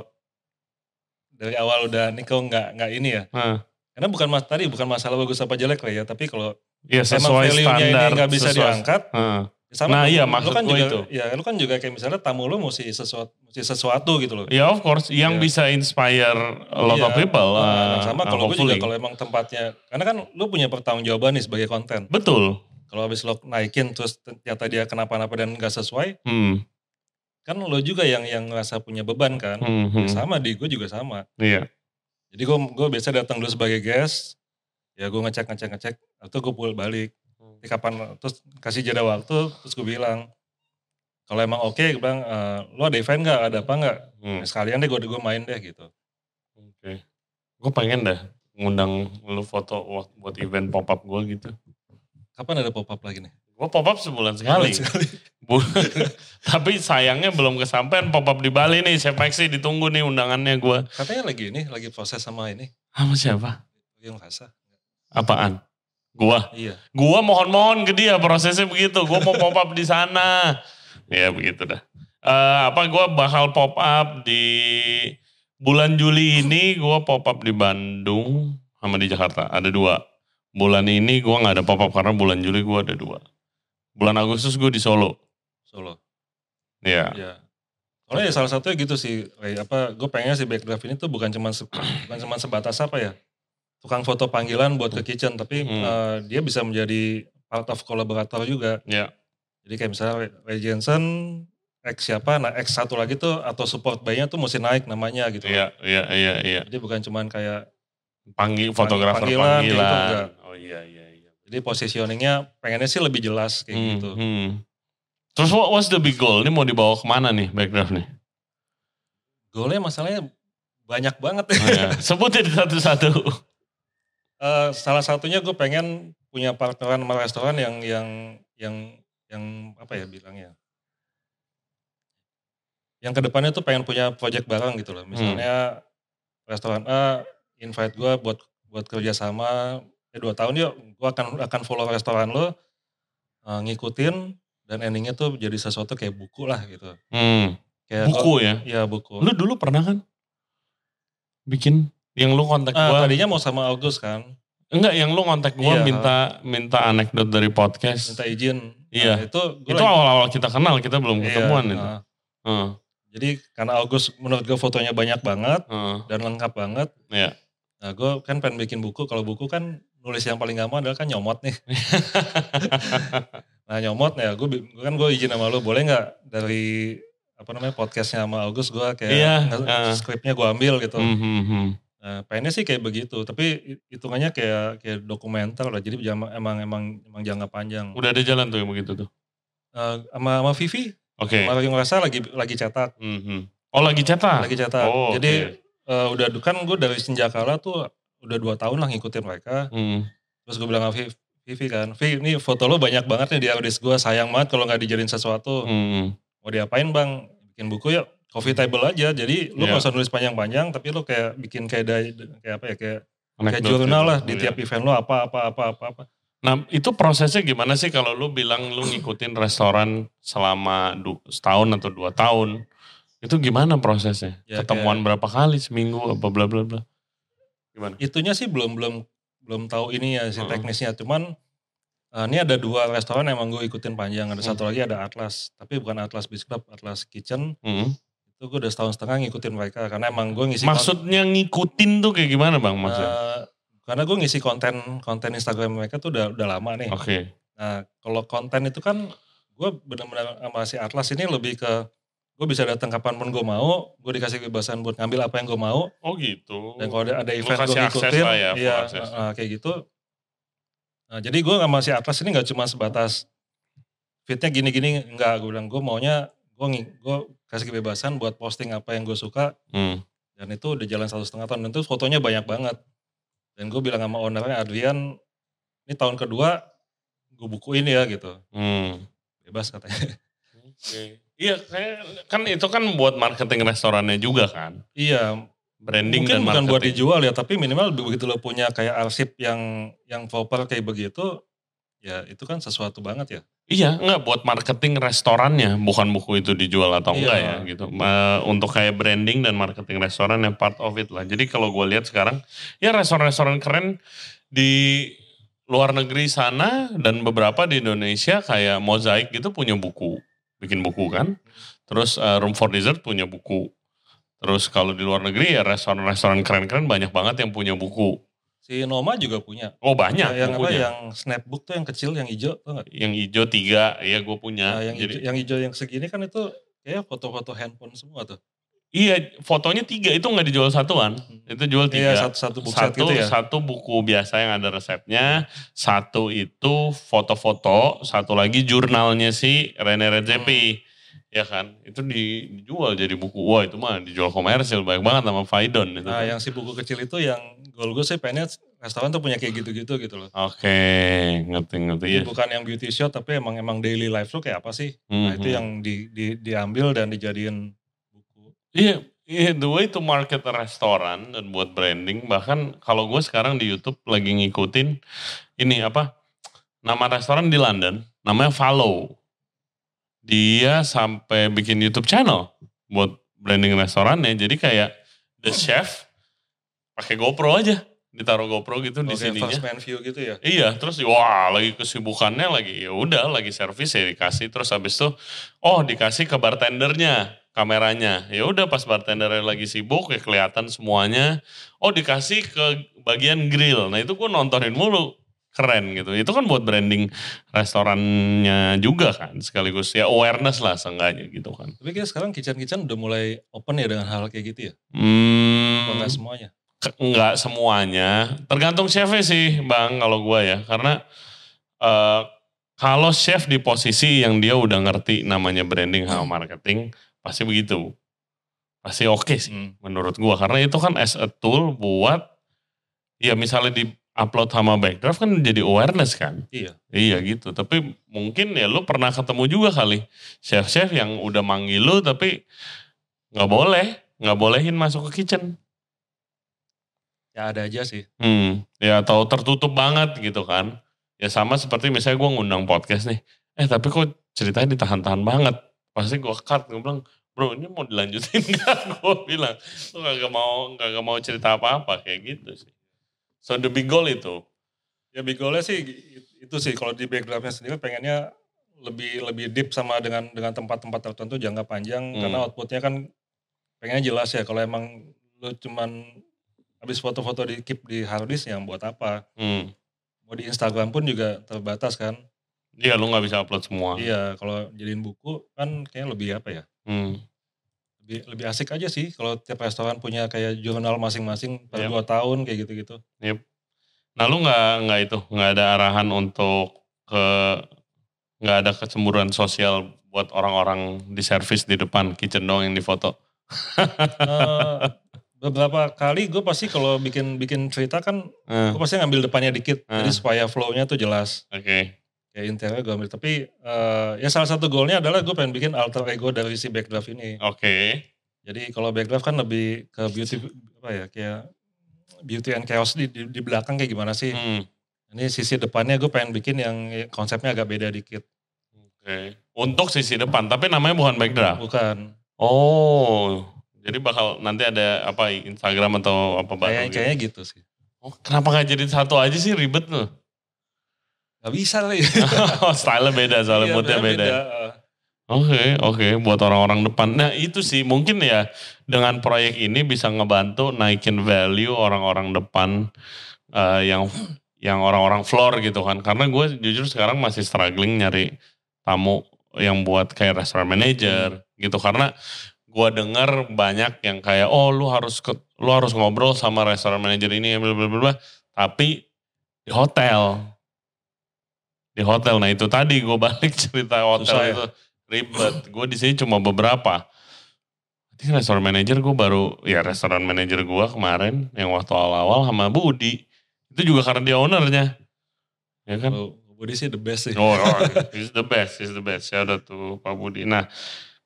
dari awal udah nih kau nggak nggak ini ya,
Nah,
karena bukan mas tadi bukan masalah bagus apa jelek lah ya, tapi kalau
ya
emang
sesuai
value-nya ini
standar
nggak bisa
sesuai-
diangkat,
Heeh.
ya
Nah, iya,
lu
maksud
kan
gua
juga,
itu.
Ya lu kan juga kayak misalnya tamu lu mesti sesuatu, mesti sesuatu gitu loh.
Ya of course, yang
Iya.
bisa inspire a lot
Iya.
of people.
Nah,
uh,
sama
uh,
kalau gue juga
hopefully.
kalau emang tempatnya, karena kan lu punya pertanggungjawaban nih sebagai konten.
Betul.
Kalau habis lo naikin terus ternyata dia kenapa-napa dan gak sesuai,
Hmm.
kan lo juga yang yang ngerasa punya beban kan.
Hmm.
Ya
hmm.
sama di gue juga sama.
Iya.
Jadi gue gue biasa datang dulu sebagai guest, ya gue ngecek ngecek ngecek, atau gue pulang balik. Ini kapan terus kasih jeda waktu, terus gue bilang kalau emang oke, gue bilang "Eh, lo ada event nggak, ada apa nggak?
Hmm.
Nah, sekalian deh gue gue main deh gitu.
Oke. Gue pengen dah ngundang lu foto wak- buat event pop up gue gitu.
Kapan ada pop up lagi nih?
Gue pop up sebulan sekali.
Sekali.
Bu- Tapi sayangnya belum kesampaian pop up di Bali nih. Chef Maxi ditunggu nih undangannya gue.
Katanya lagi ini, lagi proses sama ini
Sama siapa?
yang rasa.
Apaan? Gua.
Iya.
Gua mohon-mohon ke dia prosesnya begitu. Gua mau pop up di sana. Ya begitu dah. Eh, apa gua bakal pop up di bulan Juli ini gua pop up di Bandung sama di Jakarta. Ada dua. Bulan ini gua nggak ada pop up karena bulan Juli gua ada dua. Bulan Agustus gue di Solo.
Solo.
Ya.
Iya. Soalnya ya salah satunya gitu sih, kayak apa? Gue pengennya si backdraft ini tuh bukan cuman se- bukan cuman sebatas apa ya, tukang foto panggilan buat ke kitchen, tapi
Hmm.
eh, dia bisa menjadi part of kolaborator juga.
Ya.
Jadi kayak misalnya Ray- Ray Jensen, X siapa, nah X satu lagi tuh atau support by-nya tuh mesti naik namanya gitu.
Iya, iya, iya, iya.
Jadi bukan cuman kayak,
Panggil fotografer
Panggilan,
panggilan.
kayak gitu enggak.
oh iya, iya, iya.
jadi positioningnya pengennya sih lebih jelas kayak
Hmm,
gitu.
hmm. Terus what was the big goal? Ini mau dibawa kemana nih backdraft nih?
Golnya masalahnya banyak banget
Oh, iya. Sebutin satu-satu.
Eh, salah satunya gue pengen punya partneran sama restoran yang yang yang yang apa ya bilangnya yang kedepannya tuh pengen punya project bareng gitu loh misalnya restoran A invite gue buat buat kerjasama eh dua tahun yuk gue akan akan follow restoran lo eh, ngikutin dan endingnya tuh jadi sesuatu kayak buku lah gitu
Hmm,
kayak
buku ya.
ya buku
Lu dulu pernah kan bikin yang lu kontak
Ah,
gua?
tadinya mau sama Agus kan
Enggak, yang lu kontak gua
Iya.
minta minta anekdot dari podcast.
minta izin Nah,
Iya.
itu gua
Itu
lagi-
awal-awal kita kenal, kita belum
Iya,
ketemuan itu.
ah.
Heeh,
Jadi karena Agus menurut gue fotonya banyak banget
heeh.
dan lengkap banget.
Iya.
Nah gue kan pengen bikin buku. Kalau buku kan nulis yang paling gampang adalah kan nyomot nih. nah nyomot ya gue kan gue izin sama lo boleh nggak dari apa namanya podcastnya sama Agus gue kayak
Iya,
nge-
ah.
skripnya gue ambil gitu.
Hmm, hmm, hmm.
Nah, pengennya sih kayak begitu. Tapi hi- hitungannya kayak kayak dokumenter lah. Jadi jam- emang emang emang jangka panjang.
Udah ada jalan tuh yang begitu tuh.
Eh, sama sama Vivi,
Oke.
sama yang ngerasa lagi lagi cetak.
Hmm, hmm. Oh lagi cetak?
lagi cetak.
Oh,
Jadi eh, udah kan gue dari Senjakala tuh udah dua tahun lah ngikutin mereka.
Hmm.
Terus gue bilang sama Viv- Vivi kan, Vivi ini foto lo banyak banget nih di Audis gue, sayang banget kalau nggak dijadiin sesuatu.
hmm.
Mau diapain bang? Bikin buku ya, coffee table aja. Jadi lu
Iya.
nggak usah nulis panjang-panjang, tapi lu kayak bikin kayak day- kayak apa ya kayak kayak
Anekdot
jurnal
gitu.
lah di
Iya.
tiap event lo apa apa apa apa apa.
Nah itu prosesnya gimana sih kalau lu bilang lu ngikutin restoran selama du- setahun atau dua tahun itu gimana prosesnya?
Ya,
Ketemuan berapa kali seminggu apa bla bla bla? Gimana?
Itunya sih belum belum belum tahu ini ya si
Mm-mm.
teknisnya. Cuman eh, ini ada dua restoran yang emang gue ikutin panjang. Ada
Hmm.
satu lagi ada Atlas, tapi bukan Atlas Beach Club, Atlas Kitchen.
Mm.
itu gue udah setahun setengah ngikutin mereka karena emang gue ngisi kon-
Maksudnya ngikutin tuh kayak gimana bang
eh,
maksudnya?
karena gue ngisi konten konten Instagram mereka tuh udah udah lama nih.
Oke.
Nah kalau konten itu kan gue benar-benar sama si Atlas ini lebih ke gue bisa datang kapanpun gue mau, gue dikasih kebebasan buat ngambil apa yang gue mau
Oh gitu.
dan kalau ada, ada event
Lu
gue
kasih akses
ngikutin,
lah ya, full
iya
akses.
eh, eh, kayak gitu. Nah, jadi gue sama si Atlas ini nggak cuma sebatas fitnya gini-gini, nggak gue bilang gue maunya gue ngi- gue kasih kebebasan buat posting apa yang gue suka
Hmm.
dan itu udah jalan satu setengah tahun dan itu fotonya banyak banget dan gue bilang sama ownernya Adrian ini tahun kedua gue bukuin ya gitu
hmm.
bebas katanya
Oke. Iya kayak- kan itu kan buat marketing restorannya juga kan.
iya
Branding
mungkin
dan
bukan
marketing.
buat dijual ya tapi minimal begitu lo punya kayak arsip yang yang proper kayak begitu ya itu kan sesuatu banget ya
Iya, enggak buat marketing restorannya, bukan buku itu dijual atau enggak
Iya.
ya gitu. Eh, untuk kayak branding dan marketing restoran yang part of it lah. Jadi kalau gue lihat sekarang, ya restoran-restoran keren di luar negeri sana dan beberapa di Indonesia kayak Mosaic gitu punya buku, bikin buku kan. Terus eh, Room for Dessert punya buku. Terus kalau di luar negeri ya restoran-restoran keren-keren banyak banget yang punya buku.
Si Noma juga punya.
Oh banyak
yang apa
bukunya.
yang snapbook tuh yang kecil yang hijau tuh nggak?
yang hijau tiga ya gue punya.
Nah, yang hijau,
Jadi
yang hijau yang segini kan itu kayak foto-foto handphone semua tuh.
iya fotonya tiga itu nggak dijual satuan, itu jual tiga.
Iya satu satu box set
satu
gitu ya.
satu buku biasa yang ada resepnya, satu itu foto-foto, satu lagi jurnalnya si Rene Redzepi.
Hmm.
Ya kan, itu di- dijual jadi buku. Wah itu mah dijual komersil banyak banget sama Faidon. Itu.
Nah yang si buku kecil itu yang goal gue sih pengennya restoran tuh punya kayak gitu-gitu gitu loh.
Oke, ngerti-ngerti ya.
Jadi Bukan yang beauty show tapi emang emang daily life tuh kayak apa sih? Nah itu
Mhm.
yang di, di- diambil dan dijadiin buku.
Iya, iya, the way to market a restoran dan buat branding bahkan kalau gue sekarang di YouTube lagi ngikutin ini apa nama restoran di London namanya Follow. Dia sampai bikin YouTube channel buat branding restorannya. Jadi kayak the chef pakai GoPro aja, ditaruh GoPro gitu
Oke,
di sininya.
first man view gitu ya.
Iya, terus wah lagi kesibukannya lagi ya udah lagi servis ya dikasih terus habis itu oh dikasih ke bartendernya kameranya. Ya udah pas bartendernya lagi sibuk ya kelihatan semuanya. Oh dikasih ke bagian grill. Nah, itu gue nontonin mulu. Keren gitu. Itu kan buat branding restorannya juga kan sekaligus ya awareness lah seenggaknya gitu kan.
Tapi kayak sekarang kitchen-kitchen udah mulai open ya dengan hal kayak gitu ya.
Hmm.
Kalau nggak semuanya.
Ke- nggak semuanya tergantung chefnya sih bang kalau gue ya karena eh, kalau chef di posisi yang dia udah ngerti namanya branding sama marketing pasti begitu pasti oke sih
Hmm.
menurut gue karena itu kan as a tool buat ya misalnya di upload sama backdraft kan jadi awareness kan
Iya.
iya gitu tapi mungkin ya lu pernah ketemu juga kali chef-chef yang udah manggil lu tapi nggak boleh nggak bolehin masuk ke kitchen
Ya ada aja sih.
Hmm, ya atau tertutup banget gitu kan. Ya sama seperti misalnya gue ngundang podcast nih. Eh tapi kok ceritanya ditahan-tahan banget. Pasti gue cut, gue bilang, bro ini mau dilanjutin gak? gue bilang, lu kagak mau, kagak mau cerita apa-apa kayak gitu sih. So the big goal itu.
Ya big goalnya sih itu sih kalau di backgroundnya sendiri pengennya lebih lebih deep sama dengan dengan tempat-tempat tertentu jangka panjang
Hmm.
karena outputnya kan pengennya jelas ya kalau emang lu cuman habis foto-foto di keep di harddisk yang buat apa
Hmm.
mau di Instagram pun juga terbatas kan
Iya lu gak bisa upload semua.
iya kalau jadiin buku kan kayaknya lebih apa ya
Hmm.
lebih lebih asik aja sih kalau tiap restoran punya kayak jurnal masing-masing per
Yep.
dua tahun kayak gitu-gitu
Nah lu gak, nggak itu, gak ada arahan untuk ke, gak ada kecemburuan sosial buat orang-orang di service di depan kitchen dong yang difoto.
Eh, beberapa kali gue pasti kalau bikin bikin cerita kan
Eh,
gue pasti ngambil depannya dikit
Ah.
jadi supaya flow-nya tuh jelas
Oke.
kayak intinya gue ambil tapi eh, ya salah satu goalnya adalah gue pengen bikin alter ego dari si backdraft ini
Oke.
jadi kalau backdraft kan lebih ke beauty apa ya kayak beauty and chaos di, di, di belakang kayak gimana sih
Hmm.
ini sisi depannya gue pengen bikin yang konsepnya agak beda dikit
Oke. Untuk sisi depan, tapi namanya bukan backdraft.
bukan
Oh. Jadi bakal nanti ada apa Instagram atau apa
kayak
baru gitu.
kayaknya gitu sih
Oh, kenapa nggak jadi satu aja sih ribet loh.
Gak bisa lah Eh,
Style beda
Iya,
soalnya moodnya beda. Oke, oke. Buat orang-orang depan. Nah itu sih mungkin ya dengan proyek ini bisa ngebantu naikin value orang-orang depan eh, yang yang orang-orang floor gitu kan. Karena gue jujur sekarang masih struggling nyari tamu yang buat kayak restaurant manager gitu. Karena gue dengar banyak yang kayak oh lu harus ke, lu harus ngobrol sama restaurant manager ini bla bla bla, bla. Tapi di hotel di hotel nah itu tadi gue balik cerita hotel
Susah ya?
itu ribet. Gue di sini cuma beberapa. Nanti restoran manager gue baru ya restoran manager gue kemarin yang waktu awal-awal sama Budi itu juga karena dia ownernya, ya kan?
Kalau Budi oh, sih the best sih
Oh, oh, he's the best, he's the best. Shout out to Pak Budi. Nah,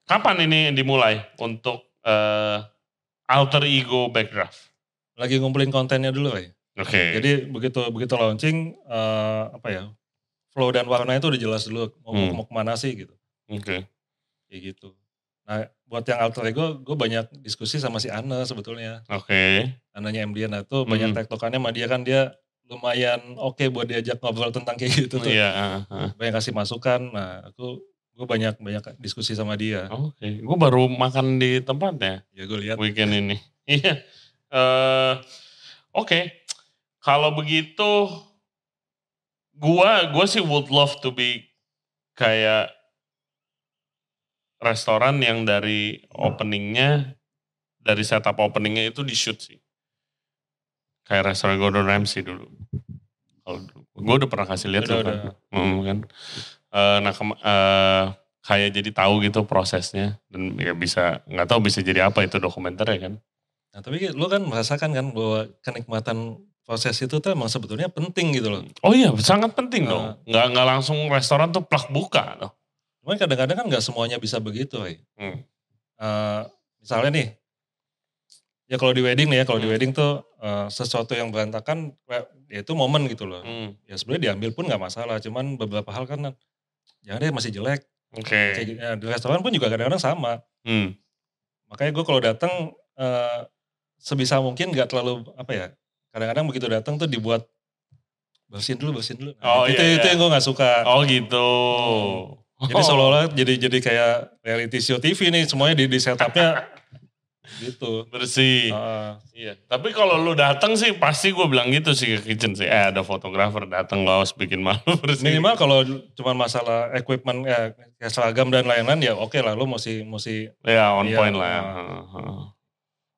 kapan ini dimulai untuk eh, alter ego backdraft?
lagi ngumpulin kontennya dulu kayak
Oke.
Jadi begitu begitu launching eh, apa ya flow dan warna itu udah jelas dulu mau
Hmm.
mau kemana sih gitu
Oke.
kayak gitu. Nah buat yang alter ego gue banyak diskusi sama si Ana sebetulnya
Oke.
Ananya MD nah itu
Hmm.
banyak tektokannya sama dia kan dia lumayan oke buat diajak ngobrol tentang kayak gitu tuh.
Iya. ah, ah.
Banyak kasih masukan. Nah, aku gue banyak banyak diskusi sama dia.
Oke, gue baru makan di tempatnya
Ya gue lihat
weekend ini. Iya. Eh, Oke, kalau begitu, gua gua sih would love to be kayak restoran yang dari openingnya, dari setup openingnya itu di shoot sih. Kayak restoran Gordon Ramsay dulu. Kalau dulu, gue udah pernah kasih
Udah,
lihat tuh, kan.
udah.
Hmm, kan. Eh, nah, kema- eh, kayak jadi tahu gitu prosesnya dan ya bisa nggak tahu bisa jadi apa itu dokumenternya kan.
Nah, tapi lu kan merasakan kan bahwa kenikmatan proses itu tuh emang sebetulnya penting gitu loh.
Oh iya, sangat penting dong.
Ah.
Nggak nggak langsung restoran tuh plak buka loh.
Cuman kadang-kadang kan nggak semuanya bisa begitu, Roy.
Hmm.
Eh, misalnya nih, ya kalau di wedding nih ya, kalau di
Hmm.
wedding tuh eh, sesuatu yang berantakan, kayak, ya itu momen gitu loh.
Hmm,
Ya sebenarnya diambil pun nggak masalah, cuman beberapa hal kan jangan deh masih jelek.
Oke.
Kayak, gitu. Nah, di restoran pun juga kadang-kadang sama.
Hmm.
Makanya gue kalau datang eh, sebisa mungkin nggak terlalu apa ya. Kadang-kadang begitu datang tuh dibuat bersihin dulu, bersihin dulu. Nah,
Oh,
itu
iya,
itu
iya.
yang gue nggak suka.
Oh gitu.
Jadi
Oh.
seolah-olah jadi jadi kayak reality show TV nih semuanya di, di setupnya gitu.
bersih.
Ah,
Iya. Tapi kalau lu datang sih pasti gue bilang gitu sih ke kitchen sih. Eh ada fotografer datang lo harus bikin malu bersih.
minimal kalau cuma masalah equipment ya, kayak seragam dan lain-lain ya oke lah lo mesti mesti
Ya on
Iya.
point lah. ya. Heeh.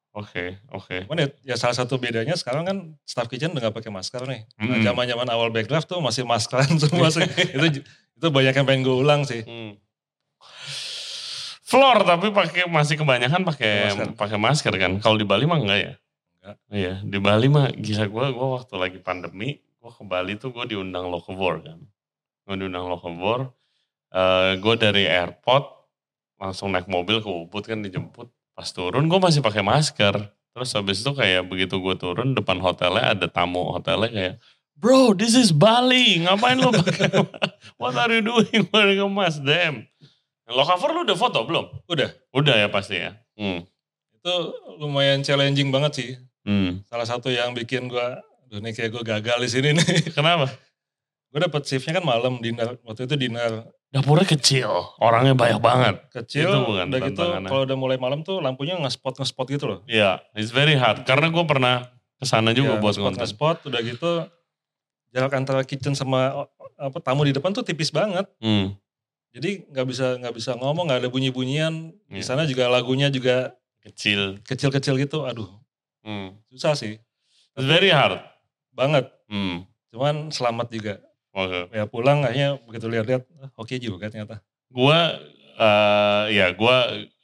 Oke oke.
cuman ya, ya salah satu bedanya sekarang kan staff kitchen udah gak pakai masker nih Nah,
Mm.
zaman-zaman awal backdraft tuh masih maskeran semua sih itu itu banyak yang pengen gue ulang sih
Hmm. Floor tapi pakai masih kebanyakan pakai
Masker.
pakai masker kan. Kalau di Bali mah enggak ya?
Enggak.
Iya, di Bali mah gila gue gua waktu lagi pandemi, gue ke Bali tuh gue diundang Lokebor kan. Gue diundang Lokebor. Eh gue dari airport langsung naik mobil ke Ubud kan dijemput. Pas turun gue masih pakai masker. Terus habis itu kayak begitu gue turun depan hotelnya ada tamu hotelnya kayak Bro, this is Bali. Ngapain lo pakai What are you doing wearing a mask? Damn. Lo cover lu udah foto belum?
Udah.
Udah ya pasti ya. Hmm.
itu lumayan challenging banget sih
Hmm.
salah satu yang bikin gue aduh nih kayak gue gagal di sini nih
Kenapa?
gue dapet shiftnya kan malam dinner waktu itu dinner
Dapurnya kecil, orangnya banyak banget.
kecil
Itu bukan
udah gitu
tantangannya.
kalau udah mulai malam tuh lampunya ngespot ngespot gitu loh
Iya, it's very hard. Karena gue pernah kesana
Ya,
juga buat
ngespot
konten.
ngespot udah gitu jarak antara kitchen sama o- apa tamu di depan tuh tipis banget
Hmm.
jadi nggak bisa nggak bisa ngomong nggak ada bunyi bunyian di
Iya.
sana juga lagunya juga
Kecil.
kecil kecil gitu aduh
Hmm.
susah sih
It's very hard.
banget
Hmm.
cuman selamat juga
Oke.
ya pulang akhirnya begitu lihat-lihat ah, oke juga ternyata
Gue, eh, ya gue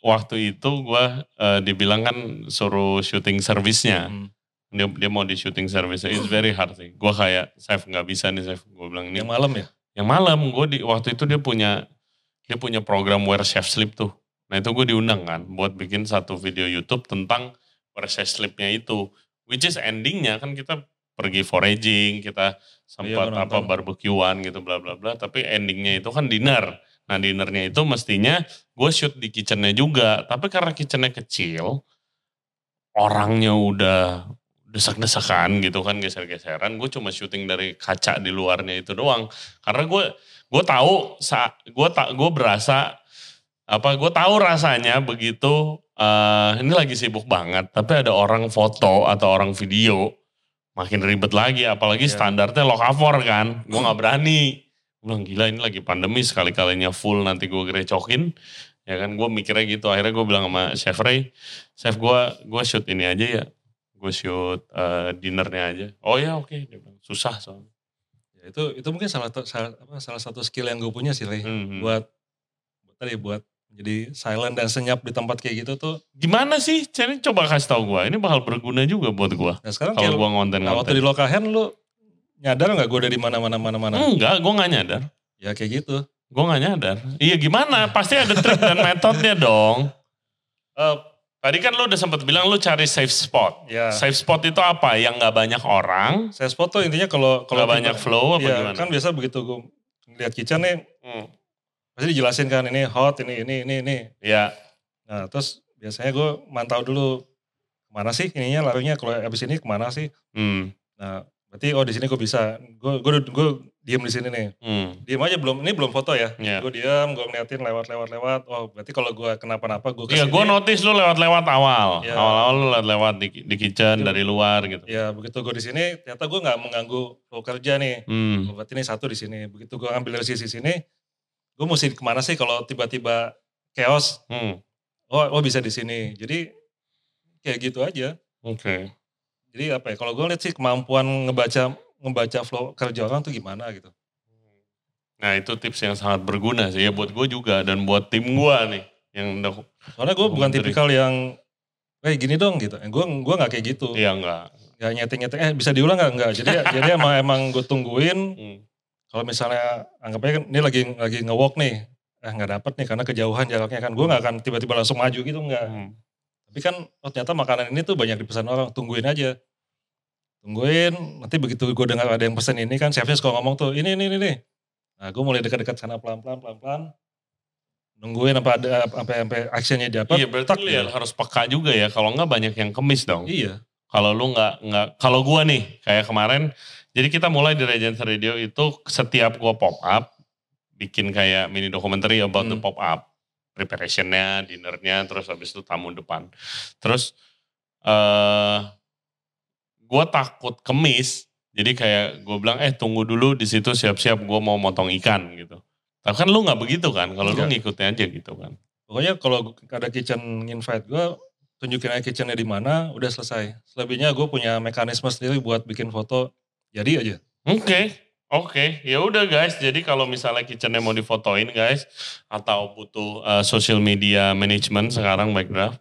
waktu itu gue eh, dibilang kan suruh syuting servisnya.
Hmm.
dia dia mau di syuting service it's very hard sih gue kayak chef nggak bisa nih chef gue bilang ini
yang malam ya
yang malam gue di waktu itu dia punya dia punya program where chef sleep tuh nah itu gue diundang kan buat bikin satu video YouTube tentang where chef sleepnya itu which is endingnya kan kita pergi foraging kita sempat
Iya,
apa
nonton.
barbekyuan gitu bla bla bla tapi endingnya itu kan dinner nah dinernya itu mestinya gue shoot di kitchennya juga tapi karena kitchennya kecil orangnya udah desak-desakan gitu kan geser-geseran gue cuma syuting dari kaca di luarnya itu doang karena gue gue tahu sa gue tak gue berasa apa gue tahu rasanya begitu eh, ini lagi sibuk banget tapi ada orang foto atau orang video makin ribet lagi apalagi
Iya.
standarnya lokavor kan gue nggak berani gue bilang gila ini lagi pandemi sekali kalinya full nanti gue gerecokin ya kan gue mikirnya gitu akhirnya gue bilang sama chef Ray chef gue gue shoot ini aja ya gue shoot eh, dinernya aja oh ya oke Dia bilang, susah soalnya
Ya, itu itu mungkin salah satu- salah, apa, salah satu skill yang gue punya sih Ray.
Mhm.
buat tadi buat jadi silent dan senyap di tempat kayak gitu tuh
gimana sih Chen coba kasih tau gue ini bakal berguna juga buat gue
nah sekarang
kalau
kayak
gue
nah, waktu
ngonten-ngonten
di lokahen lu nyadar nggak gue udah di mana mana mana mana
enggak gue gak nyadar
ya kayak gitu
gue gak nyadar iya gimana pasti ada trik dan metodenya dong Eh, tadi kan lu udah sempet bilang lu cari safe spot
ya
safe spot itu apa yang gak banyak orang
saya spot tuh intinya kalau
kalau iya,
kalau
banyak flow apa
ya,
gimana
kan biasa begitu gue lihat kitchen nih
Hmm.
pasti dijelasin kan ini hot ini ini ini ini
ya
Nah terus biasanya gue mantau dulu kemana sih ininya larinya kalau abis ini kemana sih.
hmm.
Nah Berarti oh di sini gue bisa. Gue gue gue diem di sini nih.
Hmm.
Diem aja belum. Ini belum foto ya.
Iya.
Gue diem, gue ngeliatin lewat-lewat lewat. Oh berarti kalau gue kenapa-napa gue
Iya, gue notice lu lewat-lewat awal.
Iya.
Awal-awal lu lewat-lewat di, di kitchen dari luar gitu.
Ya begitu gue di sini, ternyata gue nggak mengganggu flow kerja nih.
Hmm.
Oh, berarti ini satu di sini. Begitu gue ambil dari sisi sini, gue mesti kemana sih kalau tiba-tiba chaos?
Hmm.
Oh, oh bisa di sini. Jadi kayak gitu aja.
Oke.
Jadi apa ya? Kalau gue lihat sih kemampuan ngebaca ngebaca flow kerja orang tuh gimana gitu.
Nah itu tips yang sangat berguna sih ya buat gue juga dan buat tim gue nih yang udah
Soalnya gue bukan
Menteri.
tipikal yang kayak gini dong gitu. Gue gua nggak kayak gitu.
ya enggak.
Gak nyeting-nyeting. Eh bisa diulang nggak? Nggak. Jadi jadi emang emang gue tungguin.
Hmm.
Kalau misalnya anggap aja kan ini lagi lagi ngewalk nih. Eh nggak dapet nih karena kejauhan jaraknya kan. Gue nggak akan tiba-tiba langsung maju gitu nggak.
Hmm.
Tapi kan oh, ternyata makanan ini tuh banyak dipesan orang, tungguin aja. Tungguin, nanti begitu gue dengar ada yang pesan ini kan chefnya suka ngomong tuh, ini, ini, ini, ini. Nah gue mulai dekat-dekat sana pelan-pelan, pelan-pelan. Nungguin apa ada, apa sampai actionnya dapat.
Iya berarti
tak,
lu
ya.
ya harus peka juga ya kalau enggak banyak yang kemis dong.
Iya.
Kalau lu nggak nggak kalau gue nih kayak kemarin jadi kita mulai di Regents Radio itu setiap gue pop up bikin kayak mini dokumenter about the
Hmm.
pop up preparationnya, dinernya, terus habis itu tamu depan. Terus eh gue takut kemis, jadi kayak gue bilang eh tunggu dulu di situ siap-siap gue mau motong ikan gitu. Tapi kan lu nggak begitu kan, kalau lu
Enggak.
ngikutin aja gitu kan.
Pokoknya kalau ada kitchen invite gue, tunjukin aja kitchennya di mana, udah selesai. Selebihnya gue punya mekanisme sendiri buat bikin foto, jadi aja.
Oke, oke. Ya udah guys. Jadi kalau misalnya kitchennya mau difotoin guys, atau butuh uh, social media management sekarang backdraft,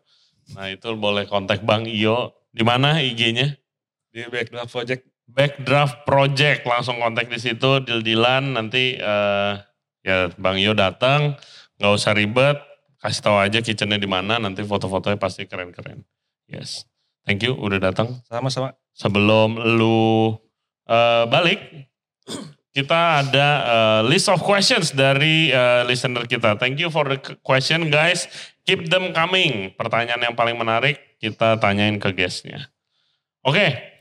nah itu boleh kontak Bang Iyo. Di mana IG-nya?
Di backdraft project
Backdraft Project. Langsung kontak di situ, deal-dealan. Nanti uh, ya Bang Iyo datang, nggak usah ribet. Kasih tahu aja kitchennya di mana. Nanti foto-fotonya pasti keren-keren. Yes. Thank you udah datang
sama-sama.
sebelum lu eh, balik kita ada eh, list of questions dari eh, listener kita. Thank you for the question guys. Keep them coming. Pertanyaan yang paling menarik kita tanyain ke guestnya. Oke.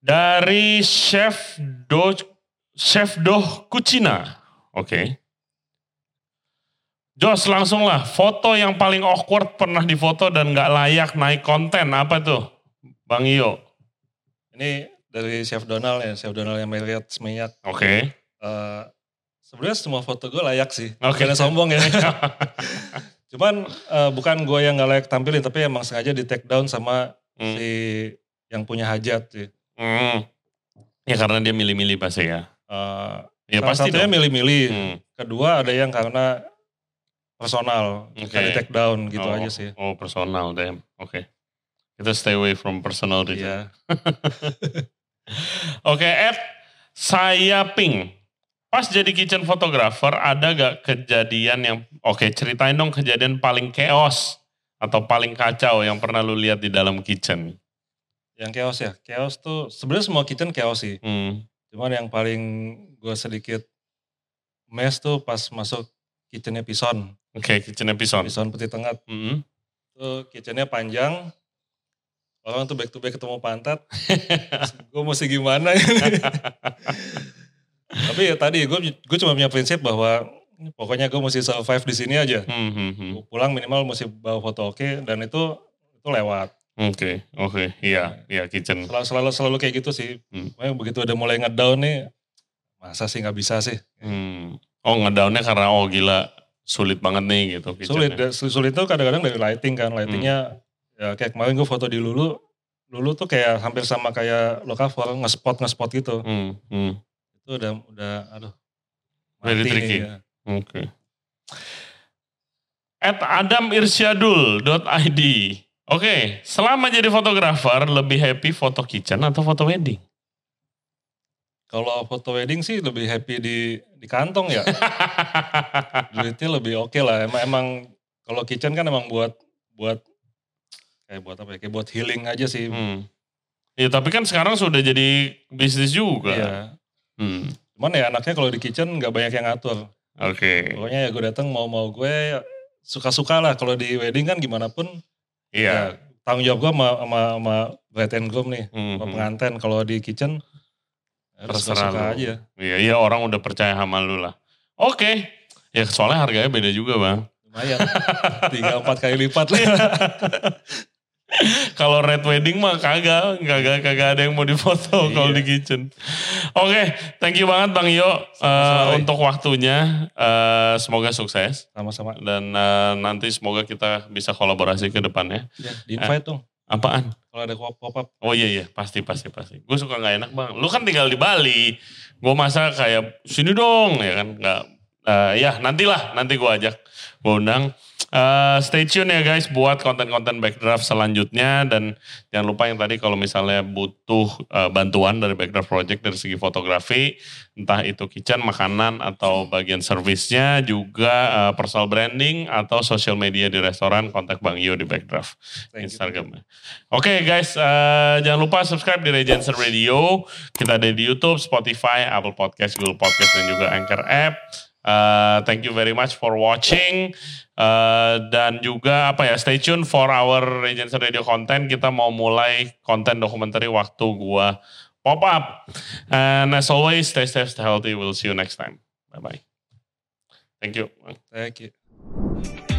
Dari Chef Do Chef Doh Kucina. Oke. Jos langsunglah foto yang paling awkward pernah difoto dan nggak layak naik konten apa tuh? Bang Iyo.
Ini dari Chef Donald ya, Chef Donald yang Marriott Seminyak.
Oke.
Eh, sebenarnya semua foto gue layak sih.
Oke.
Bukannya sombong ya.
Iya.
Cuman eh, bukan gue yang gak layak tampilin, tapi emang sengaja di take down sama
Hmm.
si yang punya hajat sih.
Hmm. Ya karena dia milih-milih pasti ya.
Eh,
Ya
salah
pasti
satunya
dong.
milih-milih.
Hmm.
Kedua ada yang karena personal,
Oke.
suka di take down gitu
Oh,
aja sih.
Oh personal, damn. Oke. Kita stay away from personal detail.
Iya.
Oke, at saya ping. Pas jadi kitchen photographer, ada gak kejadian yang, oke ceritain dong kejadian paling chaos atau paling kacau yang pernah lu lihat di dalam kitchen.
Yang chaos ya, chaos tuh sebenarnya semua kitchen chaos sih.
Hmm.
Cuman yang paling gue sedikit mes tuh pas masuk kitchennya Pison.
Oke, kitchen episode.
Pison peti tengah
Hmm.
tuh kitchennya panjang orang tuh back to back ketemu pantat gue mesti gimana ini? tapi ya tadi gue gue cuma punya prinsip bahwa pokoknya gue mesti survive di sini aja
Hmm, hmm, hmm.
Gua pulang minimal mesti bawa foto oke dan itu itu lewat
Oke, oke, iya, iya kitchen.
selalu selalu selalu kayak gitu sih
Hmm.
Pokoknya begitu udah mulai ngedown nih masa sih nggak bisa sih
Hmm. Oh ngedownnya karena oh gila sulit banget nih gitu.
sulit
kitchennya.
da- sulit tuh kadang-kadang dari lighting kan lightingnya
Hmm.
ya kayak kemarin gue foto di lulu lulu tuh kayak hampir sama kayak lo cover ngespot ngespot gitu
Hmm, hmm.
itu udah udah aduh
Very
mati nih,
tricky.
ya.
Oke. At Adam Irsyadul.id. Oke, selama jadi fotografer lebih happy foto kitchen atau foto wedding?
kalau foto wedding sih lebih happy di di kantong ya duitnya lebih oke lah emang emang kalau kitchen kan emang buat buat kayak buat apa ya kayak buat healing aja sih
hmm. Ya tapi kan sekarang sudah jadi bisnis juga.
Iya.
Hmm.
cuman ya anaknya kalau di kitchen nggak banyak yang ngatur
Oke.
pokoknya ya gue datang mau mau gue suka-suka lah kalau di wedding kan gimana pun ya,
Iya.
tanggung jawab gue sama, sama, sama bride and groom nih,
Mhm.
sama pengantin. Kalau di kitchen, ya udah
Terserah
suka-suka
lu.
aja.
Iya, iya orang udah percaya sama lu lah. Oke. Ya soalnya harganya beda juga bang.
Lumayan, tiga empat kali lipat lah.
Kalau red wedding mah kagak, kagak kagak ada yang mau difoto kalau
Iya.
di kitchen. Oke, thank you banget Bang Yo eh,
Roy.
untuk waktunya. Eh, semoga sukses
Sama-sama,
dan eh, nanti semoga kita bisa kolaborasi ke depannya.
ya, di invite dong.
Apaan?
Kalau ada pop-up,
Oh iya iya, pasti pasti pasti. Gue suka nggak enak bang. Lu kan tinggal di Bali. Gue masa kayak sini dong ya kan nggak. eh, ya nantilah nanti gue ajak gue undang. Eh, stay tune ya guys buat konten-konten backdraft selanjutnya dan jangan lupa yang tadi kalau misalnya butuh eh, bantuan dari backdraft project dari segi fotografi entah itu kitchen makanan atau bagian servisnya juga eh, personal branding atau social media di restoran kontak bang Yo di backdraft.
thank you.
Instagram. Oke guys, eh, jangan lupa subscribe di Regencer Radio. Kita ada di YouTube, Spotify, Apple Podcast, Google Podcast, dan juga Anchor App. Eh, thank you very much for watching. Eh, dan juga apa ya, stay tune for our Regencer Radio content. Kita mau mulai konten dokumenter waktu gua pop up. And as always, stay safe, stay healthy. We'll see you next time. Bye bye. Thank you.
Thank you.